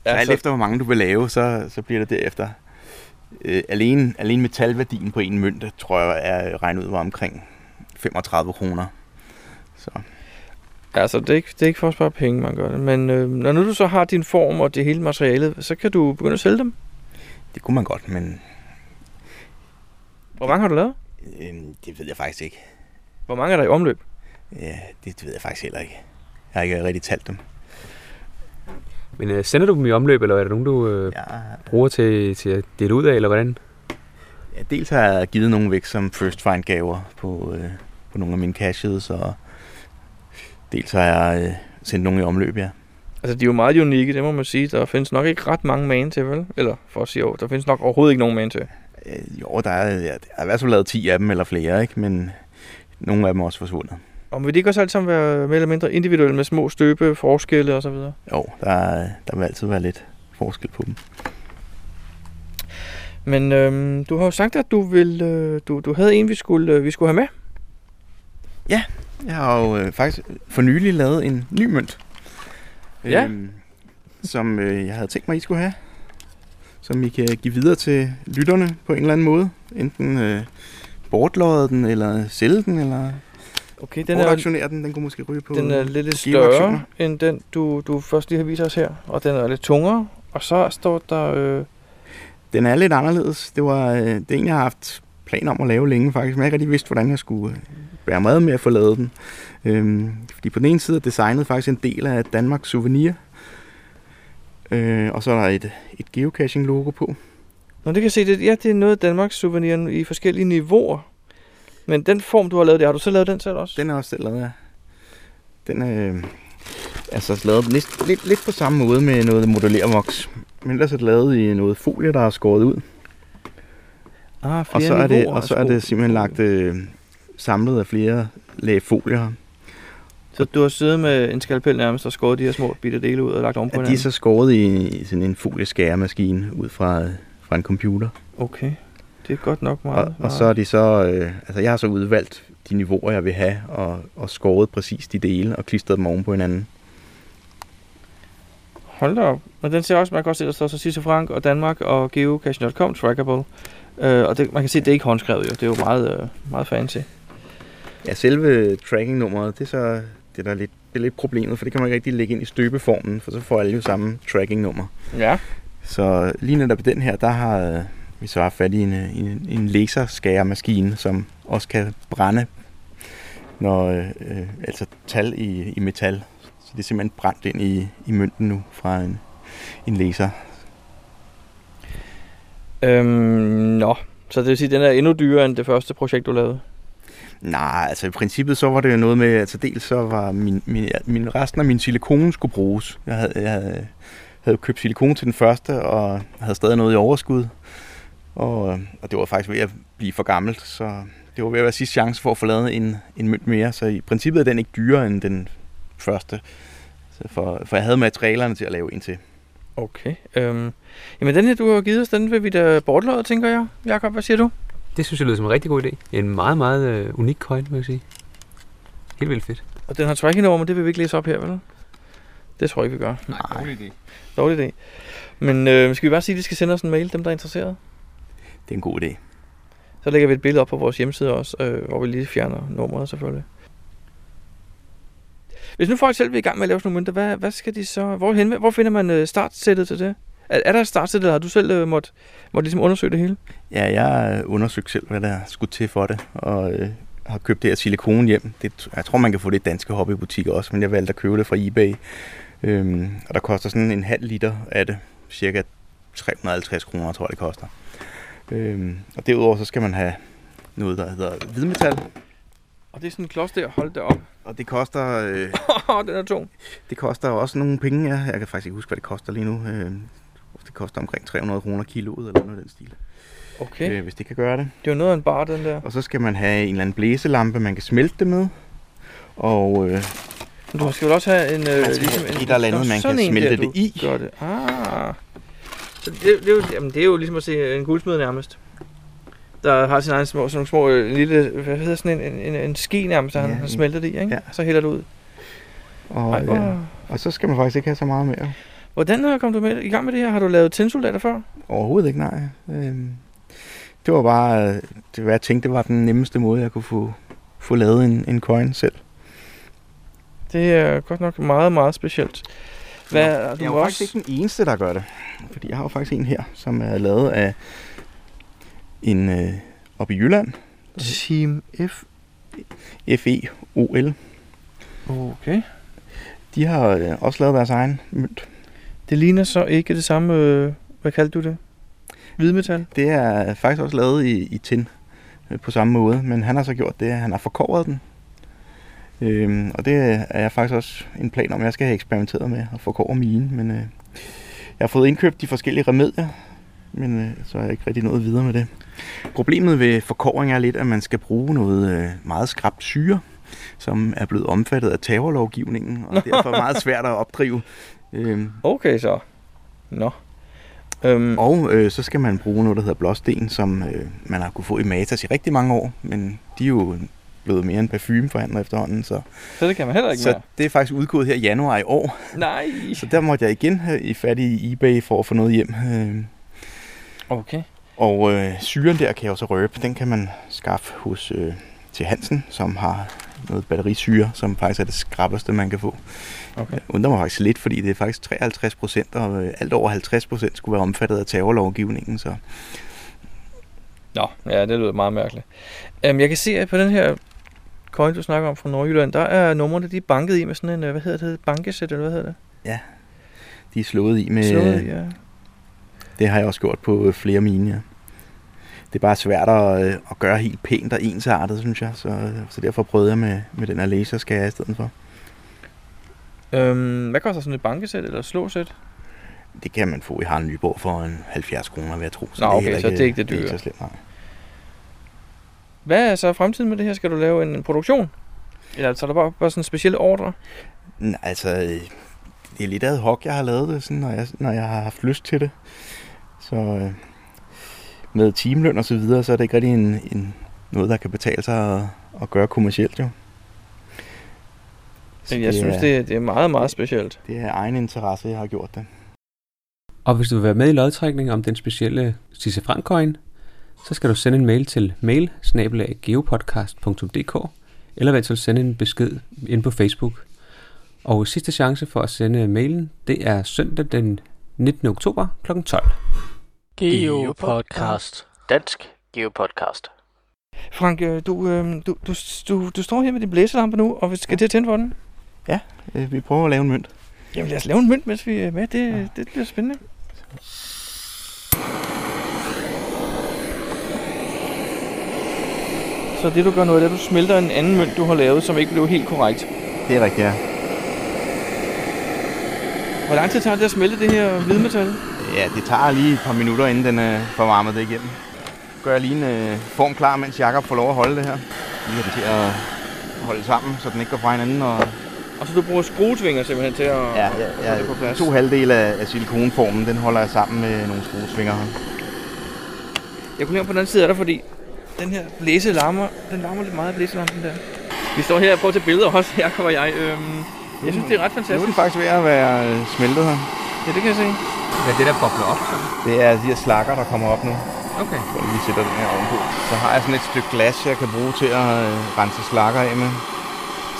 S5: så alt efter, hvor mange du vil lave, så, så bliver det derefter. Øh, alene, alene metalværdien på en mønt, tror jeg, er regnet ud var omkring 35 kroner. Så
S1: Altså, det er, ikke, det er ikke for at spare penge, man gør det. Men øh, når nu du så har din form og det hele materialet, så kan du begynde at sælge dem.
S5: det kunne man godt, men
S1: Hvor mange har du lavet?
S5: øh, det ved jeg faktisk ikke.
S1: Hvor mange er der i omløb?
S5: Ja, det ved jeg faktisk heller ikke. Jeg har ikke rigtig talt dem.
S2: Men øh, sender du dem i omløb, eller er der nogen, du øh, ja.
S5: Jeg,
S2: bruger til, til at dele ud af, eller hvordan?
S5: Ja, dels har jeg givet nogle væk som first find gaver på, øh, på nogle af mine caches, og dels har jeg øh, sendt nogle i omløb, ja.
S1: Altså, de er jo meget unikke, det må man sige. Der findes nok ikke ret mange man til, vel? Eller for at sige, jo, der findes nok overhovedet ikke nogen man til.
S5: Øh, jo, der er, ja, der er i hvert fald lavet 10 af dem eller flere, ikke? men nogle af dem er også forsvundet.
S1: Og vil de ikke også alle sammen være mere eller mindre individuelle med små støbe, forskelle og så videre?
S5: Jo, der, der vil altid være lidt forskel på dem.
S1: Men øhm, du har jo sagt, at du, vil, øh, du, du havde en, vi skulle, øh, vi skulle have med.
S5: Jeg har jo øh, faktisk for nylig lavet en ny mønt,
S1: Ja.
S5: øhm, som øh, jeg havde tænkt mig, I skulle have, som I kan give videre til lytterne på en eller anden måde. Enten øh, bortlodde den, eller sælge den, eller
S1: Okay,
S5: Den
S1: den er,
S5: er, den, den kunne måske ryge på...
S1: den er lidt, lidt
S5: på geoaktioner.
S1: større end den, du, du først lige har vist os her. Og den er lidt tungere. Og så står der... Øh,
S5: Den er lidt anderledes. Det var øh, det er en, jeg har haft planer om at lave længe faktisk, men jeg har ikke rigtig vidst, hvordan jeg skulle øh, være med med at få lavet den. Øhm, fordi på den ene side er designet faktisk en del af Danmarks souvenir, øh, og så er der et, et geocaching-logo på.
S1: Nå, det kan jeg se, det, ja, det er noget af Danmarks souvenir i forskellige niveauer. Men den form, du har lavet, det har du så lavet den selv også?
S5: Den er også selv lavet af. Den er øh, altså lavet lidt, lidt, lidt på samme måde med noget modellervoks. Men ellers er det lavet i noget folie, der er skåret ud.
S1: Ah,
S5: Og så, er det, og så er det simpelthen lagt øh, samlet af flere lag folier.
S1: Så du har siddet med en skalpel nærmest og skåret de her små bitte dele ud og lagt oven på
S5: At de er så skåret i, i sådan en folieskæremaskine ud fra, øh, fra en computer.
S1: Okay, det er godt nok meget.
S5: Og, og så er de så, øh, altså jeg har så udvalgt de niveauer, jeg vil have, og, og skåret præcis de dele og klistret dem oven på hinanden.
S1: Hold da op. Men den ser også, man kan også se, der står så Sisse Frank og Danmark og geocaching.com trackable. Øh, og det, man kan se, det er ikke håndskrevet jo. Det er jo meget, øh, meget fancy.
S5: Ja, selve tracking-nummeret, det er så det, der er lidt Det er lidt problemet, for det kan man ikke rigtig lægge ind i støbeformen, for så får alle jo samme tracking-nummer.
S1: Ja.
S5: Så lige netop i den her, der har øh, vi så haft fat i en, øh, en, en laserskæremaskine, som også kan brænde når, øh, øh, altså tal i, i metal. Så det er simpelthen brændt ind i, i mønten nu fra en, en laser.
S1: Øhm, nå. Så det vil sige, at den er endnu dyrere end det første projekt, du lavede?
S5: Nej, altså i princippet så var det jo noget med, altså dels så var min, min, min resten af min silikone skulle bruges. Jeg havde, jeg havde, havde købt silikone til den første, og havde stadig noget i overskud. Og, øh, og det var faktisk ved at blive for gammelt, så det var ved at være sidste chance for at få lavet en, en mønt mere. Så i princippet er den ikke dyrere end den første, så for, for jeg havde materialerne til at lave en til.
S1: Okay. Øhm, jamen den her, du har givet os, den vil vi da bortlåde, tænker jeg. Jakob, hvad siger du?
S2: Det synes jeg lyder som en rigtig god idé. En meget, meget øh, unik coin, må jeg sige. Helt vildt fedt.
S1: Og den har tracking over, men det vil vi ikke læse op her, vel? Det tror jeg ikke, vi gør.
S2: Nej, dårlig idé.
S1: Dårlig idé. Men øh, skal vi bare sige, at de skal sende os en mail, dem der er interesseret?
S5: Det er en god idé.
S1: Så lægger vi et billede op på vores hjemmeside også, øh, hvor vi lige fjerner nummeret selvfølgelig. Hvis nu folk selv vil i gang med at lave sådan nogle mønter, hvad, hvad skal de så... Hvor, henvend, hvor finder man øh, startsættet til det? Er, er der et startsæt, eller har du selv øh, måtte, måtte ligesom undersøge det hele?
S5: Ja, jeg øh, undersøgte selv, hvad der skulle til for det, og øh, har købt det her silikone hjem. Det, jeg tror, man kan få det i danske hobbybutikker også, men jeg valgte at købe det fra eBay. Øhm, og der koster sådan en halv liter af det, cirka 350 kroner, tror jeg, det koster. Øhm, og derudover så skal man have noget, der hedder hvidmetal,
S1: Og det er sådan en klods der, hold da op.
S5: og det koster, øh,
S1: Åh, den er tung.
S5: det koster jo også nogle penge. Ja. Jeg kan faktisk ikke huske, hvad det koster lige nu. Øh, det koster omkring 300 kroner kiloet, eller noget af den stil,
S1: Okay,
S5: øh, hvis det kan gøre det.
S1: det er jo noget af en bar, den der.
S5: Og så skal man have en eller anden blæselampe, man kan smelte det med. Og øh,
S1: Men du skal vel også have en... Øh,
S5: skal have et eller andet,
S1: Nå,
S5: man
S1: sådan
S5: kan
S1: en
S5: smelte
S1: der,
S5: det
S1: du
S5: i.
S1: Gør det. Ah. Så det, det, er jo, jamen, det er jo ligesom at se en guldsmed nærmest. Der har sin egen små, sådan nogle små, øh, lille, hvad hedder sådan en, en, en, en ske nærmest, der
S5: Ja,
S1: ja, han, han
S5: en-
S1: smelter det i, ikke?
S5: ja.
S1: Så hælder det ud.
S5: og,
S1: Ej,
S5: øh,
S1: ja.
S5: og så skal man faktisk ikke have så meget mere.
S1: Hvordan øh, kom du med, i gang med det her? Har du lavet tændsoldater før?
S5: Overhovedet ikke, nej. Øh, det var bare, øh, det var, hvad jeg tænkte, var den nemmeste måde, jeg kunne få, få lavet en, en coin selv.
S1: Det er godt nok meget, meget specielt. Hvad, ja, du
S5: Jeg er
S1: må
S5: jo
S1: også...
S5: faktisk ikke den eneste, der gør det. Fordi jeg har jo faktisk en her, som er lavet af en øh, oppe i Jylland. E
S1: Team F.
S5: F-E-O-L.
S1: Okay.
S5: De har øh, også lavet deres egen mønt.
S1: Det ligner så ikke det samme, øh, hvad kaldte du det? Hvidmetal?
S5: Det er faktisk også lavet i, i tin øh, på samme måde, men han har så gjort det, at han har forkovret den. Øhm, og det er jeg faktisk også en plan om, jeg skal have eksperimenteret med at forkovre mine, men øh, jeg har fået indkøbt de forskellige remedier, men øh, så er jeg ikke rigtig nået videre med det. Problemet ved forkovring er lidt, at man skal bruge noget øh, meget skrabt syre, som er blevet omfattet af taverlovgivningen, og derfor er meget svært at opdrive. Øhm,
S1: Okay så. Nå. Øhm,
S5: Og øh, så skal man bruge noget, der hedder blåsten, som øh, man har kunne få i Matas i rigtig mange år, men de er jo blevet mere en parfumeforhandler efterhånden, så,
S1: Så det kan man heller ikke så...
S5: så
S1: mere.
S5: det er faktisk udgået her i januar i år,
S1: Nej.
S5: så der måtte jeg igen have i fat i eBay for at få noget hjem. Øh,
S1: Okay.
S5: og øh, syren der kan jeg også røbe, den kan man skaffe hos øh, til Hansen, som har noget batterisyre, som faktisk er det skrappeste, man kan få.
S1: Okay.
S5: Jeg undrer mig faktisk lidt, fordi det er faktisk 53 procent, og øh, alt over 50 procent skulle være omfattet af terrorlovgivningen, så
S1: Nå, ja, det lyder meget mærkeligt. Øhm, jeg kan se, at på den her coin, du snakker om fra Nordjylland, der er numrene, de er banket i med sådan en, øh, hvad hedder det, bankesæt, eller hvad hedder det?
S5: de er slået i med...
S1: Slået i, ja.
S5: Det har jeg også gjort på øh, flere mine, ja. Det er bare svært at, øh, at gøre helt pænt og ensartet, synes jeg. Så, øh, så derfor prøvede jeg med, med den her laserskære i stedet for.
S1: Øhm, hvad koster sådan et bankesæt eller slåsæt?
S5: Det kan man få i Harald Nyborg for en 70 kroner, vil jeg tro.
S1: Nå,
S5: det er
S1: okay,
S5: heller
S1: så det er ikke det
S5: Det er
S1: dyre.
S5: ikke så slemt, nej.
S1: Hvad er så fremtiden med det her? Skal du lave en produktion? Eller tager du bare, bare sådan specielle ordre?
S5: Nej, altså, øh, det er lidt ad hoc, jeg har lavet det, sådan, når, jeg, når jeg har haft lyst til det. Så øh, med timeløn og så videre, så er det ikke rigtig en, en, noget, der kan betale sig at, at gøre kommercielt, jo. Så
S1: Men jeg synes,
S5: er,
S1: det, er- det er meget, meget specielt.
S5: det er egen interesse, jeg har gjort det.
S2: Og hvis du vil være med i lodtrækningen om den specielle Sisse Frank coin, så skal du sende en mail til mail eller eventuelt sende en besked ind på Facebook. Og sidste chance for at sende mailen, det er søndag den 19. oktober kl. 12.
S3: Geopodcast. Dansk Geopodcast.
S1: Frank, øh, du, øh, du, du, du, du står her med din blæselampe nu, og vi skal til at tænde for den.
S5: Øh, vi prøver at lave en mønt.
S1: Jamen lad os lave en mønt, mens vi er med. Det, ja. det bliver spændende. Så det du gør nu, det er, at du smelter en anden mønt, du har lavet, som ikke blev helt korrekt.
S5: Det er rigtigt, ja.
S1: Hvor lang tid tager det at smelte det her hvidmetal?
S5: Ja, det tager lige et par minutter, inden den øh, får varmet det igennem. Gør jeg lige en øh, form klar, mens Jakob får lov at holde det her. Lige have den til at holde sammen, så den ikke går fra hinanden. Og,
S1: Og så du bruger skruetvinger simpelthen til at
S5: ja,
S1: at-
S5: ja,
S1: at få det på
S5: ja,
S1: plads.
S5: to halvdele af, af silikonformen, den holder jeg sammen med nogle skruesvinger.
S1: Jeg kunne nævne på den anden side af dig, fordi den her blæse larmer, den larmer lidt meget af blæselampen der. Vi står her og prøver at tage billeder også, Jacob og jeg. Øhm, jeg synes, det er ret
S5: Nu er
S1: fantastisk.
S5: den faktisk ved at være øh, smeltet her.
S1: Ja, det kan jeg se.
S2: Hvad er det, der bobler op? Så?
S5: Det er de her slakker, der kommer op nu.
S2: Okay.
S5: Hvor vi sætter den her ovenpå. Så har jeg sådan et stykke glas, jeg kan bruge til at øh, rense slakker af med.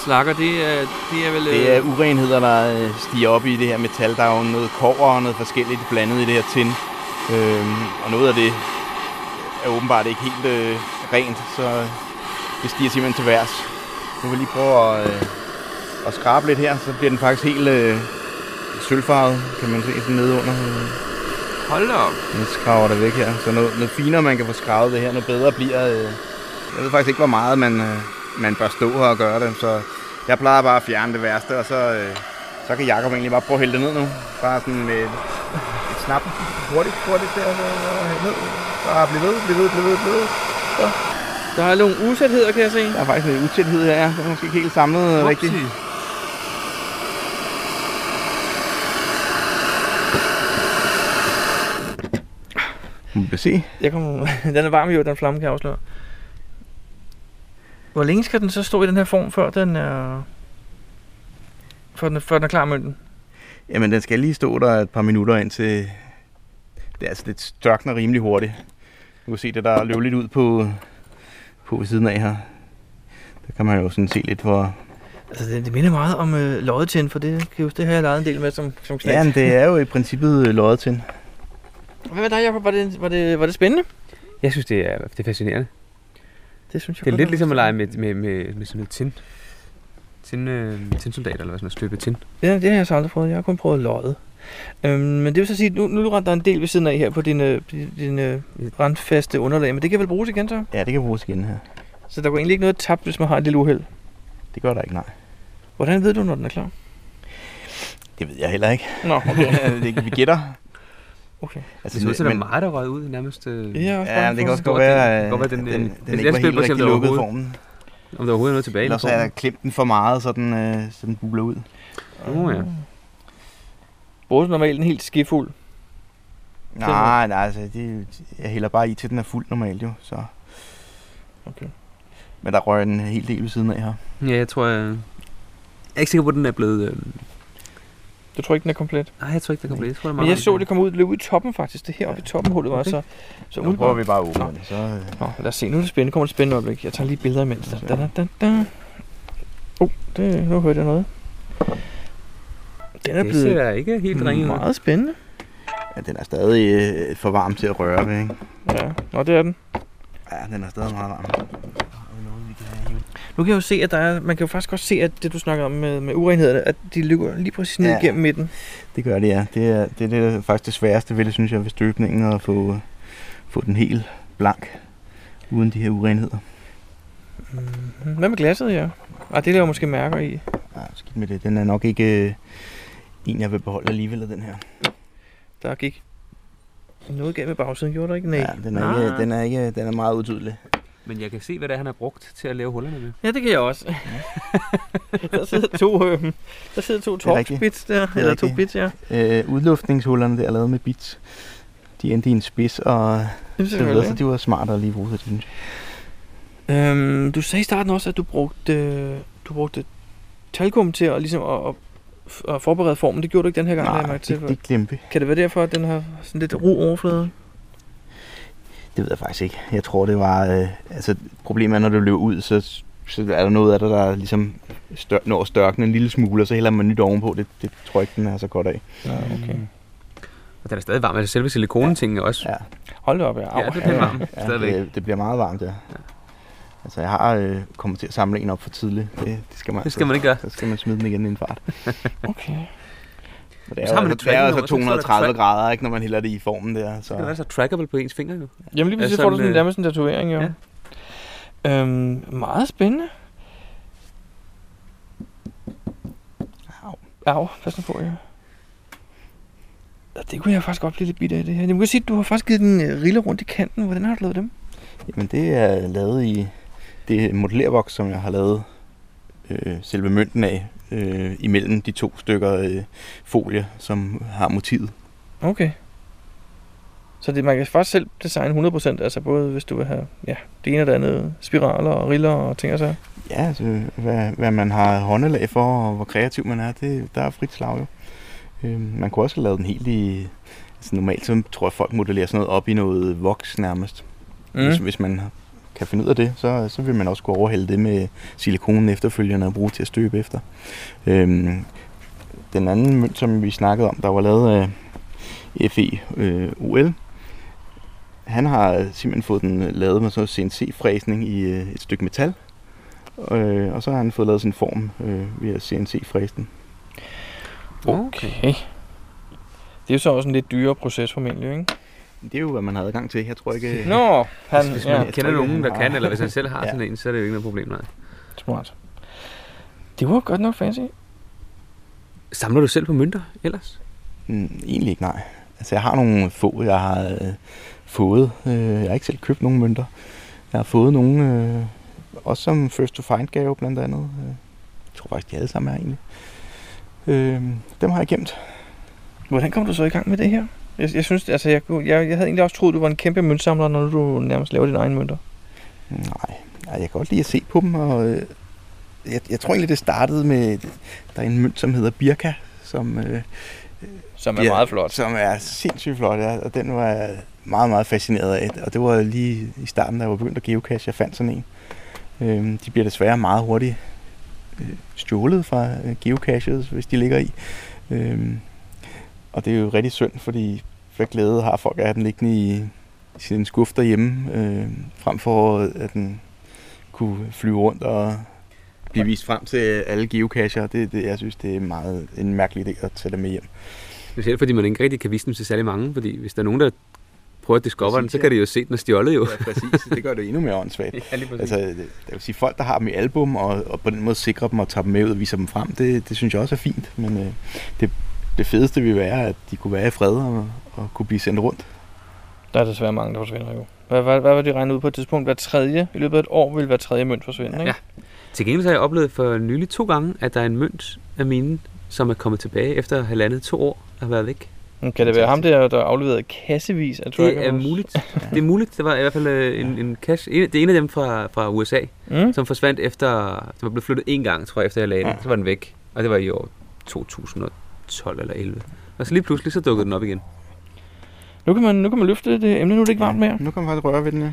S1: Slakker, det er, det er vel...
S5: Det er urenheder, der øh, stiger op i det her metal. Der er jo noget kover og noget forskelligt blandet i det her tin. Øhm, og noget af det er åbenbart ikke helt øh, rent, så øh, det stiger simpelthen til værs. Nu vil jeg lige prøve at, øh, at skrabe lidt her, så bliver den faktisk helt øh, sølvfarvet, kan man se sådan nede under.
S1: øh, Hold da op.
S5: Nu skraver det væk her, så noget, noget finere man kan få skravet det her, noget bedre bliver... Øh, jeg ved faktisk ikke, hvor meget man, øh, man bør stå her og gøre det, så jeg plejer bare at fjerne det værste, og så, øh, så kan Jacob egentlig bare prøve at hælde det ned nu. Bare sådan med et, et snap. Hurtigt, hurtigt der, så hælde ned. Bare blive ved, blive ved, blive ved, blive ved.
S1: Der er nogle usætheder, kan jeg se.
S5: Der er faktisk lidt utæthed her, ja. Det er måske ikke helt samlet Upsi. rigtigt. Må vi se.
S1: Jeg kom, den er varm jo, den flamme kan jeg afsløre. Hvor længe skal den så stå i den her form, før den er, før den, før den er klar mønten?
S5: Jamen, den skal lige stå der et par minutter indtil... Det er altså, det størkner rimelig hurtigt. Du kan se det, der løber lidt ud på, på ved siden af her. Der kan man jo sådan se lidt, hvor...
S1: Altså, det, det minder meget om øh, loddetin, for det, kan jeg huske, det har jeg leget en del med som, som knægt.
S5: Ja, men det er jo i princippet løjet til.
S1: Hvad med dig, Jacob? Var det, var, det, var det spændende?
S2: Jeg synes, det er, det er fascinerende.
S1: Det synes jeg
S2: Det er
S1: godt
S2: lidt
S1: nok.
S2: ligesom at lege med, med, med, med sådan noget tin. Tin, øh, tinsoldat, eller hvad sådan noget, støbe tin.
S1: Ja, det har jeg så aldrig prøvet. Jeg har kun prøvet løjet. Øhm, men det vil så sige, at nu, nu rent der en del ved siden af her på din, øh, din, din øh, brandfaste underlag, men det kan vel bruges igen så?
S5: Ja, det kan bruges igen her.
S1: Så der går egentlig ikke noget tabt, hvis man har et lille uheld.
S5: Det gør der ikke, nej.
S1: Hvordan ved du, når den er klar?
S5: Det ved jeg heller ikke.
S1: Nå, okay.
S5: det, vi gætter.
S1: okay.
S5: Altså,
S2: Det ser ud til, at der er meget, der røg ud nærmest. Øh,
S1: Jeg er også
S5: Ja,
S1: bange
S5: men det
S1: for
S5: kan også godt
S2: den- det
S5: være,
S2: kan
S5: at
S2: godt være,
S5: den,
S2: den,
S5: den,
S2: øh,
S5: den,
S2: den
S5: ikke var
S2: spiller
S5: helt
S2: på, om
S5: rigtig
S2: der
S5: lukket i
S2: overhovedet-
S5: formen.
S2: Om der overhovedet er noget tilbage. i
S5: Ellers er der
S2: formen.
S5: klemt den for meget, så den, øh, så den buler ud.
S2: Åh, Uh, ja.
S1: Bruger du normalt en helt skefuld?
S5: Nej, nej, altså, det, jeg hælder bare i til, den er fuld normalt jo, så...
S1: Okay.
S5: Men der rører en hel del ved siden af her.
S2: Ja, jeg tror, jeg... jeg er ikke sikker på, at den er blevet... Øh...
S1: Du tror ikke, den er komplet?
S2: Nej, jeg tror ikke, den kan blive. Jeg tror, det er
S1: Men
S2: meget
S1: jeg så, det kom ud, løb ud i toppen faktisk. Det er heroppe i toppen hullet var,
S2: Okay.
S1: så... Så
S5: Nu prøver vi
S1: umiddelbart.
S5: bare at åbne det, så... øh,
S1: Nå, lad os se. Nu er det spændende. kommer det spændende øjeblik. Jeg tager lige billeder imens. Da, da, da, da, da. Oh, det, nu hørte jeg noget. Den er
S2: Det ser
S1: blevet Mm,
S2: da ikke helt ringet. ud.
S1: meget spændende.
S5: Ja, den er stadig øh, for varm til at røre ved, ikke?
S1: Ja, nå det er den.
S5: Ja, den er stadig meget varm.
S1: Nu kan jeg jo se, at der er, man kan jo faktisk også se, at det du snakker om med, med urenhederne, at de løber lige præcis ned
S5: Ja.
S1: ja. igennem midten.
S5: Det gør det, ja. Det er, det er det, der er faktisk det sværeste ved det, synes jeg, ved støbningen, at få, øh, få den helt blank, uden de her urenheder.
S1: Mhm. Hvad med glasset, ja? Ah, det laver måske mærker i.
S5: Ja, skidt med det. Den er nok ikke øh, en, jeg vil beholde alligevel, den her.
S1: Der gik noget galt med bagsiden, gjorde der ikke? Nej. Ah,
S5: Ja, den er,
S2: Nej.
S5: ikke, den er, ikke, den er meget utydelig.
S2: Men jeg kan se, hvad det er, han har brugt til at lave hullerne med.
S1: Ja, det kan jeg også. der sidder to, øh, der sidder to
S5: Det er rigtigt.
S1: torpsbits der, eller to
S5: rigtigt.
S1: bits, ja.
S5: Øh, udluftningshullerne, der er lavet med bits, de endte i en spids, og
S1: Jamen,
S5: det ved, så
S1: selvfølgelig.
S5: de var smartere at lige bruge det, synes jeg.
S1: Øhm, du sagde i starten også, at du brugte, øh, du brugte talkum til at, ligesom at, at, at forberede formen. Det gjorde du ikke den her gang,
S5: Nej,
S1: Nej,
S5: det, det
S1: til.
S5: glemte
S1: Kan det være derfor, at den har sådan lidt ro overflade?
S5: Det ved jeg faktisk ikke. Jeg tror, det var... Øh, altså, problemet er, når du løber ud, så så er der noget af det, der ligesom stør, når størken en lille smule, og så hælder man nyt ovenpå. Det, det tror jeg ikke, den er så godt af.
S1: Ja, okay.
S2: Og den er stadig varm, altså selve silikonetingen også.
S5: Ja.
S1: Hold da op, ja. Au,
S2: Ja, det er pænt varm.
S5: Ja,
S2: Stadigvæk.
S5: det, det bliver meget varmt, ja. Altså, jeg har øh, kommet til at samle en op for tidligt. Det, det skal man,
S2: Det skal man ikke gøre.
S5: Så skal man smide den igen i en fart.
S1: Okay.
S5: Og det er
S2: Så
S5: jo
S2: har man
S5: altså,
S2: et
S5: det er jo
S2: tracking
S5: altså
S2: over, så sidder der et
S5: 230
S2: track.
S5: grader, ikke, når man hælder det i formen der. Så.
S2: Det er altså trackable på ens fingre jo.
S1: Jamen lige præcis,
S2: Ja,
S1: så får du
S2: sådan,
S1: sådan
S2: øh,
S1: nærmest en tatovering, jo.
S2: ja.
S1: Øhm, meget spændende.
S5: Au.
S1: Au, pas nu på, ja. Ja, Det kunne jeg faktisk godt blive lidt bidt af, det her. Jeg kan sige, at du har faktisk givet den øh, rille rundt i kanten. Hvordan har du lavet dem?
S5: Jamen det er lavet i det modellervoks, som jeg har lavet øh, selve mønten af, øh, imellem de to stykker øh, folie, som har motivet.
S1: Okay. Så det, man kan faktisk selv designe 100%, altså både hvis du vil have ja, det ene og det andet, spiraler og riller og ting og så.
S5: Ja, altså, hvad, hvad man har håndelag for, og hvor kreativ man er, det, der er frit slag jo. Øh, man kunne også have lavet den helt i... Altså, normalt så tror jeg, folk modellerer sådan noget op i noget voks nærmest. Mm. Hvis, hvis man kan finde ud af det, så, så vil man også kunne overhælde det med silikonen efterfølgende og bruge til at støbe efter. Øhm, den anden mønt, som vi snakkede om, der var lavet af FE øh, OL, han har simpelthen fået den øh, lavet med sådan CNC-fræsning i øh, et stykke metal, øh, og så har han fået lavet sin form øh, ved at CNC-fræse den.
S1: Okay. Det er jo så også en lidt dyrere proces formentlig, ikke?
S5: Det er jo, hvad man havde adgang til. Jeg tror ikke... øh,
S1: Nå, han,
S2: Hvis
S1: ja.
S2: man
S5: jeg
S2: kender
S5: tror ikke,
S2: nogen,
S5: han
S2: der
S5: har-
S2: kan, eller hvis han selv har
S5: Ja.
S2: sådan en, så er det jo ikke noget problem. Nej.
S1: Smart. altså. Det var godt nok fancy.
S2: Samler du selv på mønter ellers?
S5: Mm, egentlig ikke, nej. Altså, jeg har nogle få, jeg har øh, fået. Øh, jeg har ikke selv købt nogen mønter. Jeg har fået nogle, øh, også som First to Find gave blandt andet. Øh, jeg tror faktisk, de alle sammen er egentlig. Øh, dem har jeg gemt.
S1: Hvordan kom du så i gang med det her? Jeg, jeg synes, altså, jeg, kunne- jeg, jeg havde egentlig også troet, du var en kæmpe møntsamler, når du nærmest laver dine egne mønter.
S5: Nej, nej jeg kan godt lide at se på dem, og øh, jeg, jeg tror egentlig, det startede med, der er en mønt, som hedder Birka, som... Øh,
S1: Som
S5: Ja, Som er sindssygt flot, ja. Og den var jeg meget, meget fascineret af. Og det var lige i starten, da jeg var begyndt at geocache, jeg fandt sådan en. Øhm, de bliver desværre meget hurtigt øh, stjålet fra øh, geocaches, hvis de ligger i. Øhm, og det er jo rigtig synd, fordi hvad glæde har folk af at have den liggende i sin skuffe derhjemme, øh, frem for at den kunne flyve rundt og blive vist frem til alle geocacher. Det, det, jeg synes, det er meget en mærkelig idé at tage det med hjem.
S2: Specielt fordi man ikke rigtig kan vise dem til særlig mange, fordi hvis der er nogen, der prøver at discover den,
S5: Præcis,
S2: så
S5: ja.
S2: kan de jo se den er stjålet jo.
S5: Ja, præcis. Det gør det endnu mere åndssvagt.
S2: Ja, lige
S5: Altså, det, det vil sige, folk, der har dem i album, og, og på den måde sikrer dem og tager dem med ud og viser dem frem, det, det synes jeg også er fint. Men øh, det, det fedeste ville være, at de kunne være i fred og, og kunne blive sendt rundt.
S1: Der er desværre mange, der forsvinder jo. Hvad, hvad, hvad var det regnet ud på et tidspunkt? Hver tredje, i løbet af et år, vil hver tredje mønt forsvinde, ikke?
S2: Ja. Til gengæld så har jeg oplevet for nylig to gange, at der er en mønt af mine, som er kommet tilbage efter halvandet to år at have været væk.
S1: Men Mm, Kan det være ham der, der afleverede kassevis af
S2: Det er
S1: trackables?
S2: muligt. Det er muligt. Det var i hvert fald øh, en, en cash. En, det er en af dem fra, fra USA,
S1: Mm?
S2: som forsvandt efter... Den var blevet flyttet en gang, tror jeg, efter jeg lagde den.
S5: Ja.
S2: Så var den væk. Og det var i år 2012 eller 11. Og så lige pludselig, så dukkede den op igen.
S1: Nu, kan man, nu kan man løfte det emne, nu er det ikke varmt mere.
S5: Nu kan man faktisk røre ved den, ja.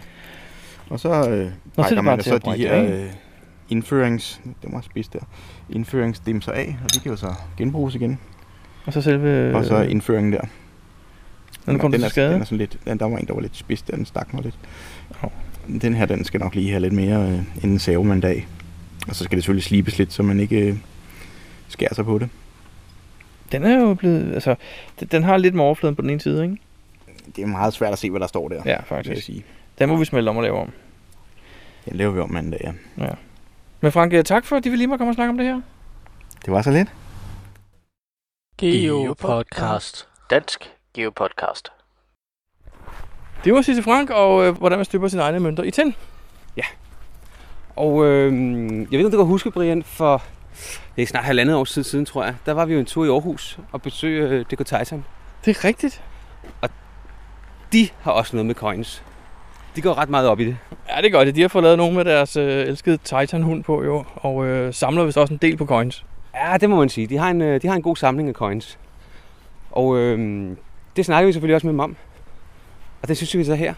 S5: Og så øh,
S1: Nå, så er
S5: brækker
S1: det
S5: man
S1: bare
S5: jo
S1: til
S5: så
S1: at
S5: de
S1: brække
S5: her
S1: af.
S5: øh, indførings... Det må jeg spise der. Indføringsdimser af, og de kan jo så genbruges igen.
S1: Og så selve...
S5: Øh, og så indføringen der.
S1: Når du kommer
S5: den,
S1: til
S5: er,
S1: skade.
S5: den er sådan lidt, den, der var en, der var lidt spids, der, den stak mig lidt.
S1: Hov.
S5: Den her, den skal nok lige have lidt mere øh, inden savemandag. dag. Og så skal det selvfølgelig slibes lidt, så man ikke øh, skærer sig på det.
S1: Den er jo blevet... Altså, den, den har lidt med overfladen på den ene side, ikke?
S5: Det er meget svært at se, hvad der står der.
S1: Ja,
S5: vil jeg
S1: faktisk.
S5: sige.
S1: Den må vi smelte om og lave om.
S5: Den laver vi om mandag, ja.
S1: Men Frank, øh, tak for, at de vil lige må komme og snakke om det her.
S5: Det var så lidt.
S3: Geo Podcast. Dansk Geo Podcast.
S1: Det var Sisse Frank, og øh, hvordan man støber sine egne mønter i tin.
S2: Og øh, jeg ved ikke, om du kan huske, Brian, for det er snart halvandet år siden, siden, tror jeg. Der var vi jo en tur i Aarhus og besøgte øh, Deco Titan.
S1: Det er rigtigt.
S2: De har også noget med coins. De går ret meget op i det.
S1: Ja, det er godt. De har fået lavet nogen med deres øh, elskede Titan-hund på, jo. Og øh, samler vist også en del på coins.
S2: Ja, det må man sige. De har en, øh, de har en god samling af coins. øhm, Og øh, det snakker vi selvfølgelig også med dem om. Og det synes vi så her.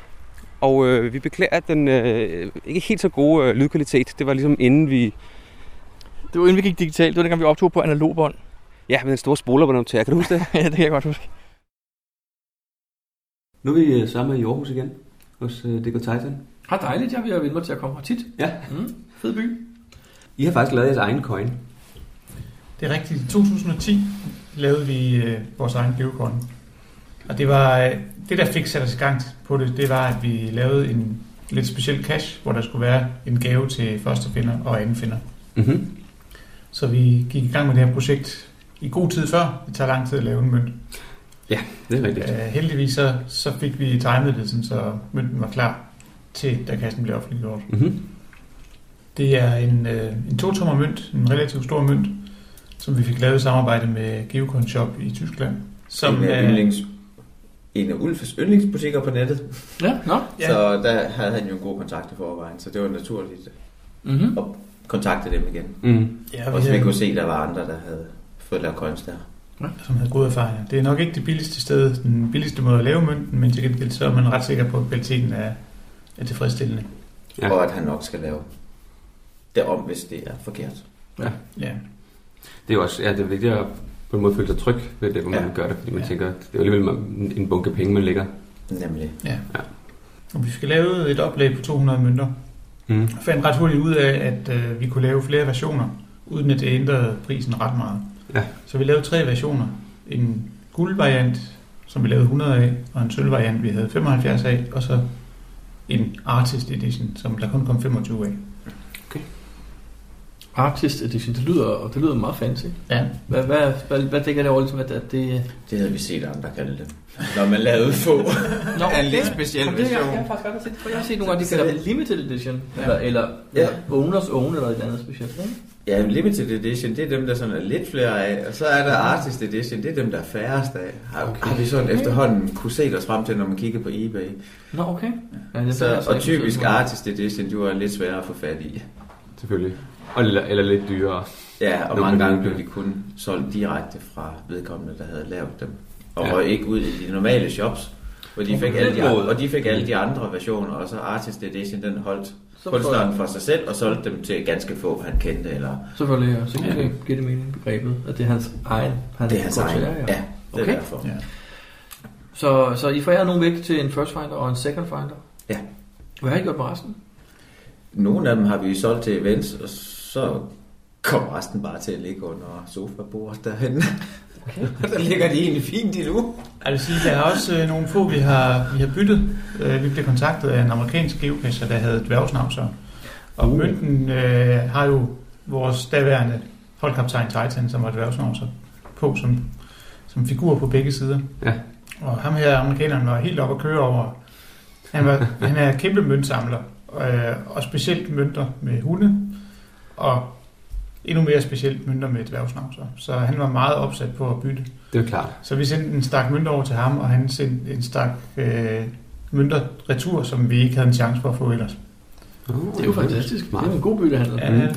S2: Og øh, vi beklager den øh, ikke helt så gode øh, lydkvalitet. Det var ligesom inden vi...
S1: Det var inden vi gik digitalt. Det var dengang, vi optog på analogbånd.
S2: Ja, med den store spolerbåndoptager. Kan du huske det?
S1: ja, det kan jeg godt huske.
S2: Nu er
S6: øh,
S2: vi sammen i Aarhus igen hos øh, Deco Titan.
S1: Har dejligt, jeg vil vende mig til at komme her tit.
S2: Ja.
S1: Mm, fed by.
S2: I har faktisk lavet jeres egen coin.
S7: Det er rigtigt. I 2010 lavede vi øh, vores egen Bitcoin. Og det var øh, det, der fik sat os i gang på det, det var, at vi lavede en lidt speciel cash, hvor der skulle være en gave til første finder og anden finder.
S2: Mm-hmm.
S7: Så vi gik i gang med det her projekt i god tid før. Det tager lang tid at lave en mønt.
S2: Det er rigtigt.
S7: Øh, heldigvis så, så fik vi timet det, sådan, så mønten var klar til, da kassen blev offentliggjort.
S2: Mm-hmm.
S7: Det er en, øh, en totommer mønt, en relativt stor mønt, som vi fik lavet i samarbejde med Geocon Shop i Tyskland. Som,
S8: en, af
S7: er-
S8: yndlings, en af Ulfes yndlingsbutikker på nettet.
S1: Ja, nå.
S7: Ja.
S8: Ja. Så der havde han jo en god kontakt i forvejen, så det var naturligt at
S1: Mm-hmm.
S8: kontakte dem igen.
S6: Mhm.
S2: Mm.
S7: ja,
S8: Mhm. Og så vi
S7: havde-
S8: kunne se, at der var andre, der havde fået lavet coins der.
S7: som havde gode erfaringer. Det er nok ikke det billigste sted, den billigste måde at lave mønten, men til gengæld så er man ret sikker på, at kvaliteten er, er tilfredsstillende.
S2: Ja.
S8: Ja. Og at han nok skal lave det om, hvis det er forkert.
S7: Ja.
S6: Det er jo også, ja, det er vigtigt at på en måde føle sig tryg ved det, hvor man
S8: Ja.
S6: gør det, fordi man
S7: Ja.
S6: tænker, det er jo alligevel man- en bunke penge, man lægger.
S8: Nemlig.
S7: Og vi skal lave et oplæg på 200 mønter.
S2: Mm.
S7: Jeg fandt ret hurtigt ud af, at øh, vi kunne lave flere versioner, uden at det ændrede prisen ret meget.
S2: Ja.
S7: Så vi lavede tre versioner. En guldvariant, som vi lavede 100 af, og en sølvvariant, vi havde 75 af, og så en artist edition, som der kun kom 25 af.
S9: Artist Edition, det lyder, det lyder meget fancy.
S7: Ja,
S9: Hvad, hvad, hvad, hvad dækker det over, ligesom, at, at det...
S8: Det havde vi set andre kalde det. Når man lavede få
S9: Nå,
S8: af en lidt speciel
S9: Jamen, det har jeg, jeg
S8: version.
S9: har faktisk godt set, for jeg har set nogle gange, de
S8: Så
S9: kalder
S8: det-
S9: det limited edition, ja. eller, eller,
S8: Ja.
S9: eller owners own, eller et eller andet specielt. Ikke?
S8: Ja, limited edition, det er dem, der sådan er lidt flere af. Og så er der artist edition, det er dem, der er færrest af. Har, Mhm. okay. har vi sådan efterhånden kunne se os frem til, når man kigger på eBay.
S9: Nå, okay. Ja, det er
S8: Så,
S9: faktisk
S8: og
S9: ikke
S8: typisk
S9: sådan.
S8: artist edition, du er lidt sværere at få fat i.
S6: Selvfølgelig. Og, eller, eller lidt dyrere.
S8: Ja, og
S6: Nå,
S8: mange
S6: men-
S8: gange blev de kun solgt direkte fra vedkommende, der havde lavet dem. Og
S6: Ja.
S8: ja. ikke ud i de normale shops, hvor de fik alle de,
S6: den måde.
S8: og de fik alle de andre versioner, og så Artist Edition, den holdt
S9: Så
S8: kunstneren for sig selv, og solgte dem til ganske få, han kendte, eller
S9: Selvfølgelig, ja. Så kan det give det mening begrebet, at det er hans egen. Hans
S8: det er hans egen.
S9: Ja, ja.
S8: Ja, det er
S9: Okay.
S8: derfor.
S7: ja.
S9: Så, så I forærer nogen væk til en first finder og en second finder?
S8: Ja.
S9: Hvad har I gjort med resten?
S8: Nogle af dem har vi jo solgt til events, og så kom resten bare til at ligge under sofabordet derhen. Okay. der ligger de egentlig fint endnu.
S7: Jeg vil sige, der er også øh, nogle få, vi har, vi har byttet. Øh, vi blev kontaktet af en amerikansk geocacher, der havde dværgsnavser. Og uh. mønten øh, har jo vores daværende holdkaptajn Titan, som var dværgsnavser, på som, som figur på begge sider.
S6: Ja.
S7: Og ham her, amerikaneren, var helt oppe at køre over. Han, var, han er kæmpe møntsamler, øh, og specielt mønter med hunde, og endnu mere specielt mønter med dværgsnavser. Så han var meget opsat på at bytte.
S6: Det er jo klart.
S7: Så vi sendte en stak mønter over til ham, og han sendte en stak øh, mønter retur, som vi ikke havde en chance for at få ellers.
S6: Oh,
S9: Det er jo fantastisk. Det er jo en god byttehandel.
S7: Ja, mm.
S8: Ja.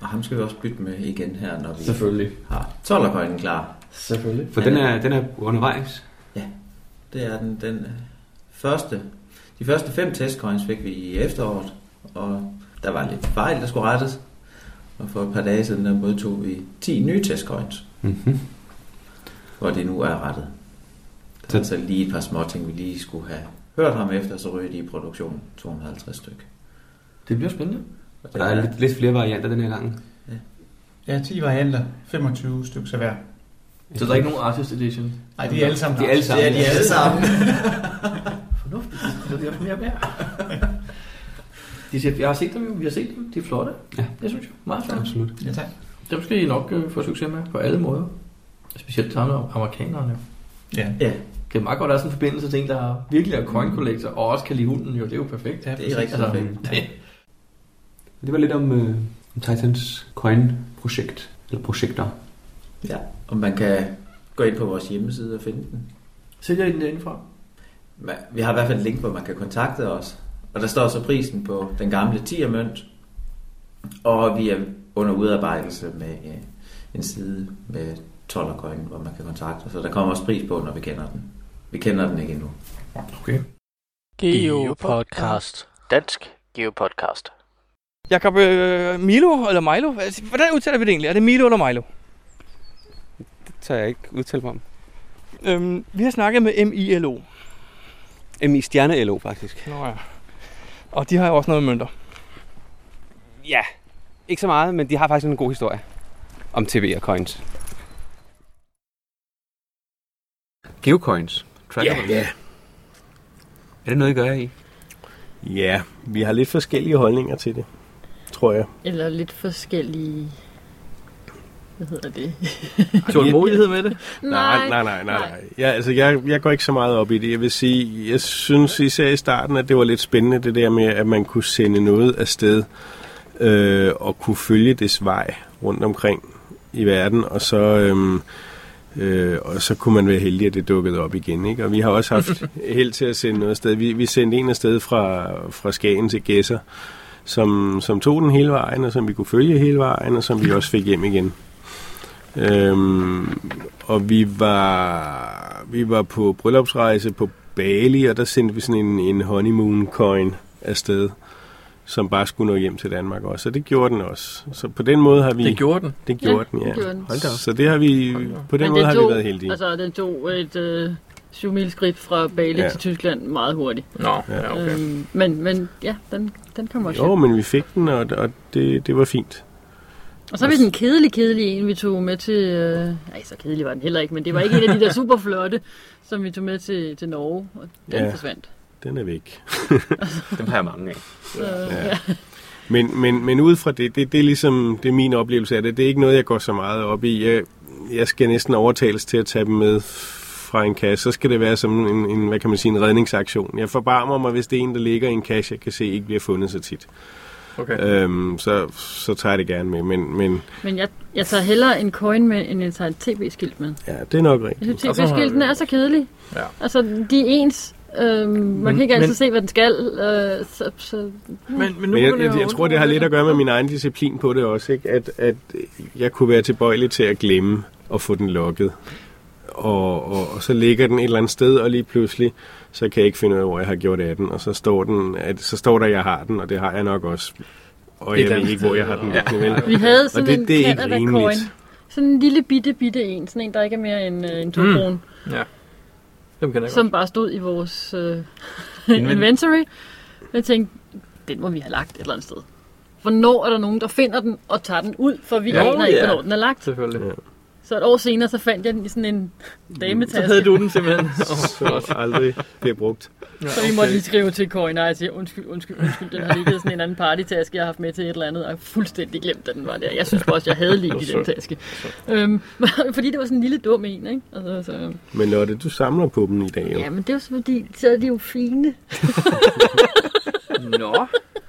S8: Og ham skal vi også bytte med igen her, når vi
S6: Selvfølgelig.
S8: har 12 klar.
S9: Selvfølgelig.
S6: For den
S2: øh,
S6: er, den er undervejs.
S8: Det er den, den øh, første. De første fem testcoins fik vi i efteråret, og der var lidt fejl, der skulle rettes. Og for et par dage siden, der modtog vi 10 nye testcoins,
S6: Mm-hmm.
S8: hvor det nu er rettet. Der
S6: Så-
S8: er altså lige et par små ting, vi lige skulle have hørt ham efter, så ryger de i produktion 250 styk.
S9: Det bliver spændende.
S8: Og
S6: Og der er lidt, lidt flere varianter den her gang.
S7: Ja, 10 varianter, 25 stykker hver.
S9: Så der er ikke nogen artist edition.
S7: Nej, de er alle sammen.
S6: De er alle
S8: Det
S6: sammen.
S8: er de alle sammen.
S9: Fornuftigt. Så det er også mere værd. De siger, jeg har set dem, jo. vi har set dem. De er flotte.
S6: Ja.
S9: Det synes jeg. Meget flotte.
S6: Absolut.
S7: Ja, tak.
S9: Dem skal I nok øh, få succes med på alle måder. Specielt sammen med amerikanerne.
S7: Ja.
S8: Ja.
S9: Det er meget godt, at der er sådan en forbindelse til en, der virkelig er coin collector, og også kan lide hunden jo. Det er jo perfekt.
S7: Ja,
S8: Det er rigtig
S9: Altså,
S8: fedt.
S6: Det var lidt om, øh, om Titans Coin-projekt. Eller projekter.
S8: Ja. Og man kan gå ind på vores hjemmeside og finde den.
S9: Sælger I den derindefra?
S8: Man, vi har i hvert fald et link, hvor man kan kontakte os. Og der står så prisen på den gamle 10'er mønt. Og vi er under udarbejdelse med øh, en side med 12 coin, hvor man kan kontakte os. Så der kommer også pris på, når vi kender den. Vi kender den ikke endnu.
S9: Okay.
S3: Geopodcast. Dansk Geopodcast.
S1: Jakob øh, Milo, eller Milo, altså, hvordan udtaler vi det egentlig? Er det Milo eller Milo?
S2: Det tør jeg ikke udtale mig om.
S1: Øhm, vi har snakket med MILO.
S2: MI Stjerne LO, faktisk.
S1: Nå ja. Og de har jo også noget med mønter.
S2: Ja, ikke så meget, men de har faktisk en god historie om TV og coins. Geocoins. Tracker. Yeah.
S7: Ja,
S2: Er det noget, I gør i?
S7: ja, vi har lidt forskellige holdninger til det, tror jeg.
S10: Eller lidt forskellige... Hvad hedder det?
S7: Tålmodighed
S1: med det?
S7: Nej, nej, nej, nej. nej. Ja, altså, jeg, jeg går ikke så meget op i det. Jeg vil sige, jeg synes især i starten, at det var lidt spændende, det der med, at man kunne sende noget afsted øh, og kunne følge dets vej rundt omkring i verden, og så, øhm, øh, og så kunne man være heldig, at det dukkede op igen. Ikke? Og vi har også haft held til at sende noget afsted. Vi, vi sendte en afsted fra, fra Skagen til Gæsser, som, som tog den hele vejen, og som vi kunne følge hele vejen, og som vi også fik hjem igen. Øhm, og vi var, vi var på bryllupsrejse på Bali, og der sendte vi sådan en, en honeymoon coin afsted, som bare skulle nå hjem til Danmark også. Og det gjorde den også. Så på den måde har vi...
S1: Det gjorde den?
S7: Det gjorde
S10: Ja,
S7: den, ja.
S10: det gjorde den. Hold da op.
S7: Så det har vi... På den
S10: Men
S7: måde har
S10: tog-
S7: vi været heldige.
S10: Altså, den tog et øh, syv mil skridt fra Bali
S7: Ja.
S10: ja. til Tyskland meget hurtigt.
S1: Nå,
S7: ja,
S1: okay.
S10: Øhm, men, men ja, den, den kommer også
S7: Jo,
S10: hjem.
S7: men vi fik den, og, og det, det var fint.
S10: Og så har vi sådan en kedelig, kedelig en, vi tog med til... Øh, nej, så kedelig var den heller ikke, men det var ikke en af de der super flotte, som vi tog med til, til Norge, og den
S7: Ja.
S10: ja. forsvandt.
S7: Den er væk.
S11: Dem har jeg mange af.
S10: Så, ja.
S7: Ja. Men, men, men ud fra det, det, det er ligesom det er min oplevelse af det. Det er ikke noget, jeg går så meget op i. Jeg, jeg skal næsten overtales til at tage dem med fra en kasse. Så skal det være som en, en hvad kan man sige, en redningsaktion. Jeg forbarmer mig, hvis det er en, der ligger i en kasse, jeg kan se ikke bliver fundet så tit.
S1: Okay.
S9: Øh,
S7: Øhm, så, så tager jeg det gerne med. Men, men
S10: Men jeg, jeg tager hellere en coin med, end jeg tager et tv-skilt med.
S7: ja, det er nok rigtigt.
S10: Jeg synes,
S1: Og så har
S10: tv-skiltene
S1: vi-
S10: er så kedelige.
S1: Ja.
S10: Altså, de er ens. Øhm, man
S1: Men-
S10: kan ikke altid
S1: men-
S10: se, hvad den skal. Øh, så, så,
S1: Men, men nu
S7: Men jeg,
S1: begynder
S7: jeg, jeg
S1: undre
S7: tror, det
S1: mig
S7: har lidt at gøre med min egen disciplin på det også, ikke? At, at jeg kunne være tilbøjelig til at glemme at få den lukket. Og, og, og så ligger den et eller andet sted, og lige pludselig, så kan jeg ikke finde ud af, hvor jeg har gjort af den. Og så står, den, at, så står der, at jeg har den, og det har jeg nok også. Og
S11: Et
S7: jeg
S11: eller
S7: ved
S11: andet
S7: ikke, hvor jeg har den liggende. Ja.
S10: Vi havde
S7: Og
S10: sådan
S7: det-
S10: en
S7: det er ikke
S10: Canada
S7: rimeligt.
S10: coin. Sådan en lille bitte, bitte en. Sådan en, der ikke er mere end øh, en to
S1: Mm.
S10: kron,
S1: Dem kender jeg
S10: Som bare stod i vores øh,
S11: Inven-
S10: inventory. Jeg tænkte, den må vi have lagt et eller andet sted. Hvornår er der nogen, der finder den og tager den ud, for vi
S1: Nå,
S10: aner ikke,
S1: ja.
S10: hvornår den er
S1: godt,
S10: lagt.
S1: selvfølgelig.
S7: Ja.
S10: Så et år senere, så fandt jeg den i sådan en dametaske.
S1: Så havde du den simpelthen. Åh,
S7: Så aldrig bliver brugt.
S1: ja,
S10: Så vi måtte lige skrive til Coin, og jeg siger, undskyld, undskyld, undskyld, den har ligget i sådan en anden partytaske, jeg har haft med til et eller andet, og jeg har fuldstændig glemt, at den var der. Jeg synes bare også, jeg havde ligget i den taske. Øhm, fordi det var sådan en lille dum en, ikke? Altså, så,
S7: Men Lotte, du samler på dem i dag, jo.
S10: ja, men det er jo så fordi, så er de jo fine.
S1: Nå.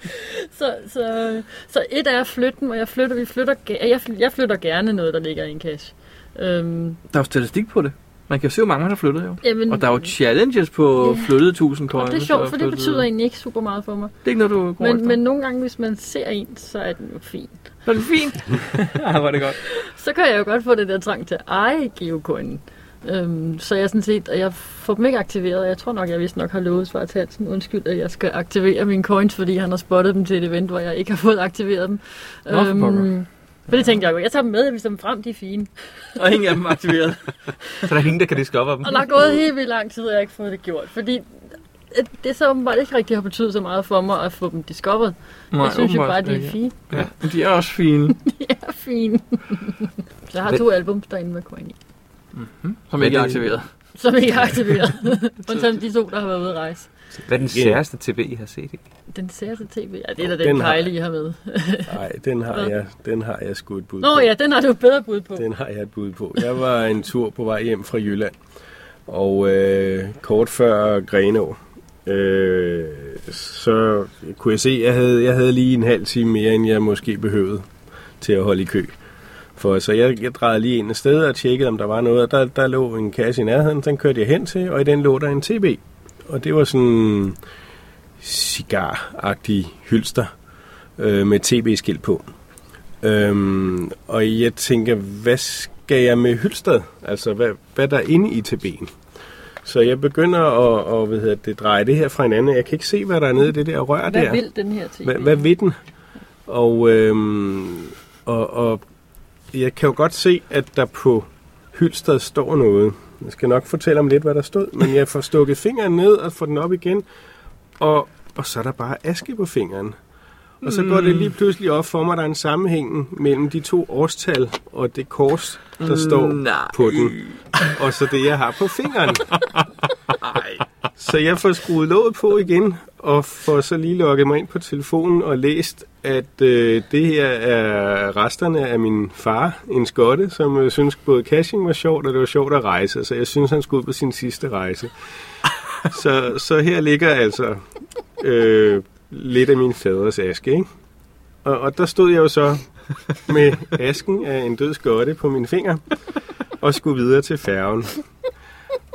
S10: Så, så, så et er at flytte dem, og jeg flytter, vi flytter, ge- jeg, fly- jeg flytter gerne noget, der ligger i en kasse. Øhm,
S1: Der er jo statistik på det. Man kan jo se, hvor mange man har flyttet, jo.
S10: jamen,
S1: Og der er jo challenges på
S10: Mm. Ja.
S1: flyttet 1000 coins.
S10: og det er sjovt,
S1: og
S10: for det
S1: flyttet-
S10: betyder egentlig ikke super meget for mig.
S1: Det er ikke noget, du går
S10: Men,
S1: efter.
S10: men nogle gange, hvis man ser en, så er den jo fin.
S1: Så er det fint. ja, var det godt.
S10: så kan jeg jo godt få den der trang til at eje geokoinen. Øhm, så jeg er sådan set, og jeg får dem ikke aktiveret, og jeg tror nok, jeg vist nok har lovet Svart Hansen, undskyld, at jeg skal aktivere mine coins, fordi han har spottet dem til et event, hvor jeg ikke har fået aktiveret dem. Øhm,
S1: Nå, for pokker.
S10: for det tænkte jeg jo, jeg tager dem med, jeg viser dem frem, de er fine.
S1: Og ingen af dem er aktiveret.
S11: Så der er ingen, der kan diske op af dem.
S10: Og der er gået helt vildt lang tid, og jeg har ikke fået det gjort, fordi at det så åbenbart ikke rigtig har betydet så meget for mig at få dem discovered.
S1: Nej,
S10: jeg synes jo
S1: åbenbart
S10: bare, de
S1: ikke.
S10: er fine.
S1: Ja. Men de er også fine.
S10: Ja, fine. så jeg har to album derinde med coin i,
S1: Hmm? Som ikke er aktiveret.
S10: som ikke er aktiveret. Undtagen de to, der har været ude at rejse.
S11: Hvad er den
S7: Ja.
S11: særeste TV, I har set? Ikke?
S10: Den særste tv? Ja, det er da den,
S7: Den
S10: den
S7: har
S10: Kylie, jeg har med.
S7: Nej, den har jeg, den har jeg sgu et bud
S10: Nå
S7: på.
S10: ja, den har du et bedre bud på.
S7: Den har jeg et bud på. Jeg var en tur på vej hjem fra Jylland, og øh, kort før Grenå, øh, så kunne jeg se, at jeg havde, jeg havde lige en halv time mere, end jeg måske behøvede til at holde i kø. For, så jeg, jeg drejede lige ind et sted og tjekkede, om der var noget, og der, der lå en kasse i nærheden, den kørte jeg hen til, og i den lå der en TB. Og det var sådan cigar-agtig hylster øh, med TB-skilt på. Øhm, og jeg tænker, hvad skal jeg med Hylstad? Altså, hvad, hvad der er inde i TB'en?
S2: Så jeg begynder at, at hvad hedder det, dreje det her fra hinanden. Jeg kan ikke se, hvad der er nede i det der rør
S10: Hvad
S2: der.
S10: vil den her TV?
S2: Hvad, hvad vil den? Og, øhm,
S7: mm,
S2: og, og jeg kan jo godt se, at der på hylstret står noget. Jeg skal nok fortælle om lidt, hvad der stod, men jeg får stukket fingeren ned og får den op igen, og, og så er der bare aske på fingeren. Og så går det
S1: Mm.
S2: lige pludselig op for mig, at der er en sammenhæng mellem de to årstal og det kors, der står
S1: Nej.
S2: på den. Og så det, jeg har på fingeren. Så jeg får skruet låget på igen, og får så lige logget mig ind på telefonen og læst, at øh, det her er resterne af min far, en skotte, som øh, synes både caching var sjovt, og det var sjovt at rejse. Så jeg synes, han skulle ud på sin sidste rejse. Så, så her ligger altså øh, lidt af min faders aske, ikke? Og, og der stod jeg jo så med asken af en død skotte på min finger, og skulle videre til færgen.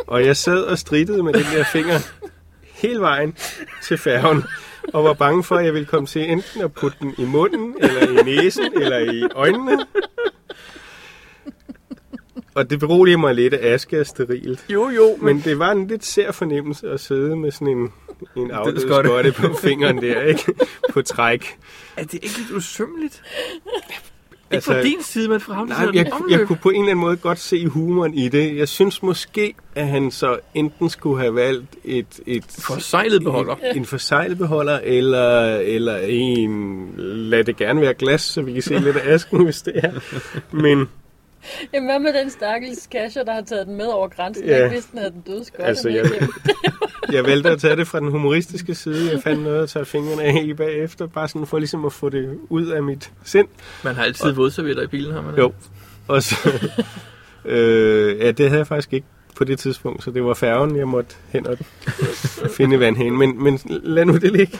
S2: Og jeg sad og strittede med den der finger hele vejen til færgen, og var bange for, at jeg ville komme til enten at putte den i munden, eller i næsen, eller i øjnene. Og det beroliger mig lidt, at aske er sterilt.
S1: Jo, jo, men-
S2: Men det var en lidt sær fornemmelse at sidde med sådan en, en afdød
S1: skotte.
S2: skotte på fingeren der, ikke? På træk.
S1: Er det ikke lidt usømmeligt? Ikke
S2: Altså,
S1: fra din side, men fra ham, der
S2: Nej,
S1: sidder i
S2: jeg,
S1: den
S2: ku-
S1: omløb.
S2: jeg kunne på en eller anden måde godt se humoren i det. Jeg synes måske, at han så enten skulle have valgt et... et
S1: Forseglet beholder.
S2: En, en forsejlet beholder, eller, eller en... Lad det gerne være glas, så vi kan se lidt af asken, hvis det er. Men
S10: Jamen, hvad med den stakkels casher, der har taget den med over grænsen?
S2: Ja.
S10: Ja. Jeg vidste, den havde den døde skotte
S2: altså,
S10: med
S2: jeg,
S10: hjem.
S2: jeg valgte at tage det fra den humoristiske side. Jeg fandt noget at tage fingrene af i bagefter, bare sådan for ligesom at få det ud af mit sind.
S1: Man har altid
S2: Og-
S1: vådservietter i bilen, har man ikke?
S2: Jo. Og så, øh, ja, det havde jeg faktisk ikke på det tidspunkt, så det var færgen, jeg måtte hen og finde vandhanen. Men, men lad nu det ligge.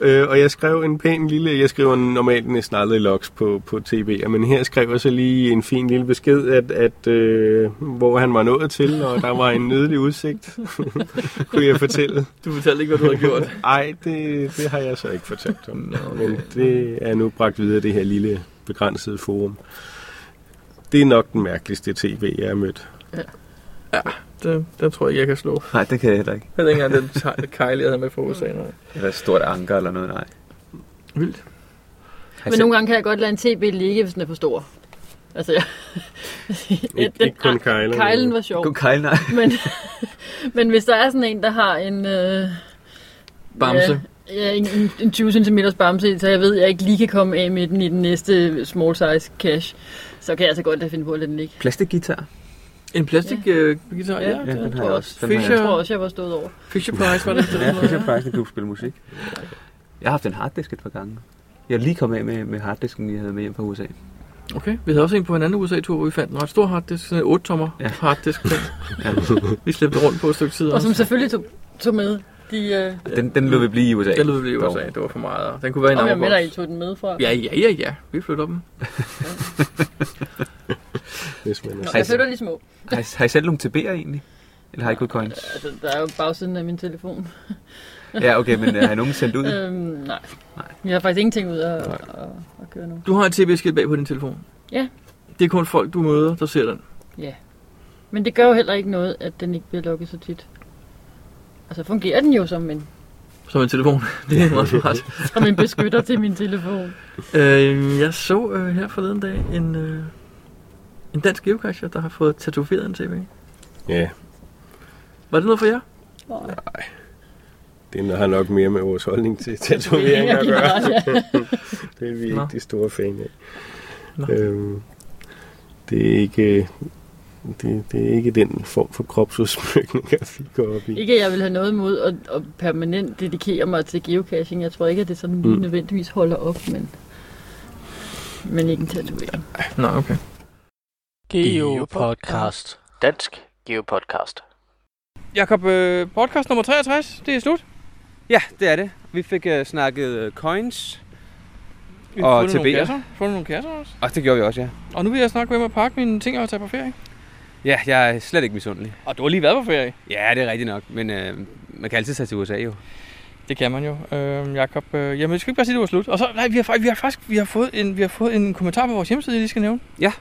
S2: Øh, og jeg skrev en pæn lille, jeg skriver normalt næsten aldrig logs på, på tv, men her skrev jeg så lige en fin lille besked, at, at øh, hvor han var nået til, og der var en nydelig udsigt, kunne jeg fortælle.
S1: Du fortalte ikke, hvad du havde gjort.
S2: Nej, det, det har jeg så ikke fortalt om. Men det er nu bragt videre det her lille begrænsede forum. Det er nok den mærkeligste tv, jeg har mødt.
S1: Det, den tror jeg ikke, jeg kan slå.
S8: Nej, det kan jeg heller ikke.
S1: Heller ikke engang den te- Kylie, jeg havde med fra USA. Nej.
S8: Eller et stort anker eller noget, nej.
S1: Vildt.
S10: Men nogle gange kan jeg godt lade en TB ligge, hvis den er for stor. Altså, jeg...
S2: Ikke- ikke kun kejlen.
S10: Kejlen var sjov.
S8: Kun kejlen, nej.
S10: Men, men hvis der er sådan en, der har en... Øh,
S1: Bamse.
S10: Ja, ja, en, en- en 20 cm bamse, i, så jeg ved, at jeg ikke lige kan komme af med den i den næste small size cash, så kan jeg altså godt lade finde på at lade den ligge.
S8: Plastikgitar.
S1: En plastikguitar, ja.
S10: Ja,
S1: ja,
S8: den
S1: det tror
S8: har jeg
S1: jeg
S8: også.
S1: også.
S8: Den har jeg
S10: Jeg tror
S1: Fisher,
S10: også, jeg var stået over.
S1: Fisher Price var det. det
S8: Ja,
S1: var-
S8: Fisher Price, den kunne spille musik. Jeg har haft en harddisk et par gange. Jeg er lige kommet af med, med harddisken, jeg havde med hjem fra USA.
S1: Okay, vi havde også en på en anden USA-tur, hvor vi fandt en ret stor harddisk, sådan en 8-tommer ja. harddisk.
S8: Ja.
S1: vi slæbte rundt på et stykke tid
S10: Og som
S1: også.
S10: selvfølgelig tog, tog med de... Øh,
S8: Den, den lød vi blive i USA.
S1: Den lød vi blive i
S8: Dog.
S1: USA, det var for meget. og Den kunne være i en
S10: om jeg med dig, I
S1: ammerboks.
S10: tog den med fra.
S1: Ja, ja, ja, ja. Vi flytter dem.
S2: Hvis man
S10: Nå, jeg flytter lige små.
S8: Har I, har I selv nogle TB'er egentlig? Eller har I kun coins?
S10: Altså, der er jo bagsiden af min telefon.
S8: Ja, okay, men, øh, har I nogen sendt ud?
S10: øhm, nej. nej. Jeg har faktisk ingenting ud at, at, at, at køre nu.
S1: Du har et tv-skilt bag på din telefon.
S10: Ja.
S1: Det er kun folk, du møder, der ser den.
S10: Ja. Men det gør jo heller ikke noget, at den ikke bliver lukket så tit. Altså fungerer den jo som en,
S1: Som en telefon. det er meget smart.
S10: som en beskytter til min telefon.
S1: Øh, jeg så øh, her forleden dag en, øh, en dansk geocacher, der har fået tatoveret en tv.
S2: Ja,
S1: Var det noget for jer?
S2: det har nok mere med vores holdning til tatovering at gøre. det er vi
S1: Nå.
S2: ikke de store fan af.
S1: Nå.
S2: Øhm, det, er ikke, det, det er ikke den form for kropsudsmykning, jeg fik går op i.
S10: Ikke at jeg vil have noget imod at, at permanent dedikere mig til geocaching. Jeg tror ikke, at det sådan lige
S2: Mm.
S10: nødvendigvis holder op, men, men ikke en tatovering.
S1: Nå, okay.
S3: Geopodcast. Dansk Geopodcast.
S12: Jakob, øh, podcast nummer 63, det er slut.
S13: Ja, det er det. Vi fik uh, snakket øh, coins
S12: Vi har
S13: og
S12: fundet nogle
S13: TB'er.
S12: kasser, fundet nogle kasser også.
S13: Og det gjorde vi også, ja.
S12: Og nu vil jeg snakke med mig og pakke mine ting og tage på ferie.
S13: Ja, jeg er slet ikke misundelig.
S12: Og du har lige været på ferie.
S13: Ja, det er rigtigt nok, men øh, man kan altid tage til USA jo.
S12: Det kan man jo, øh, Jakob. Øh, jamen, skal vi ikke bare sige, at det var slut? Og så, nej, vi har, fa- vi har faktisk vi har fået, en, vi har fået en kommentar på vores hjemmeside, jeg lige skal nævne.
S13: Ja.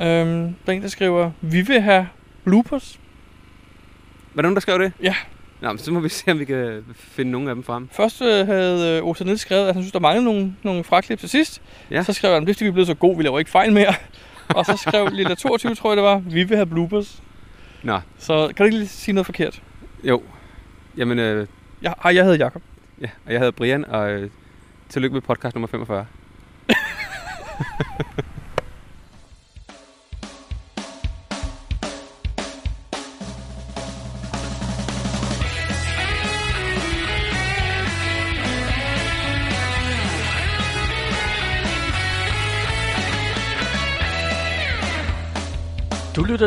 S12: Øhm, der er en, der skriver, vi vil have bloopers.
S2: Var der nogen, der skrev det?
S1: Ja.
S2: Nå, men så må vi se, om vi kan finde nogen af dem frem.
S1: Først øh, havde Osa Niels skrevet, at han synes, der manglede nogle, nogle fraklip til sidst.
S2: Ja.
S1: Så skrev han, hvis vi er blevet så gode, vi laver ikke fejl mere. og så skrev Lilla 22, tror jeg det var, vi vil have bloopers.
S2: Nå,
S1: Så kan du ikke lige sige noget forkert?
S2: jo. Jamen, øh,
S1: Jeg, ej, jeg hedder Jakob.
S2: ja, og jeg hedder Brian, og øh, tillykke med podcast nummer 45.
S3: Du lytter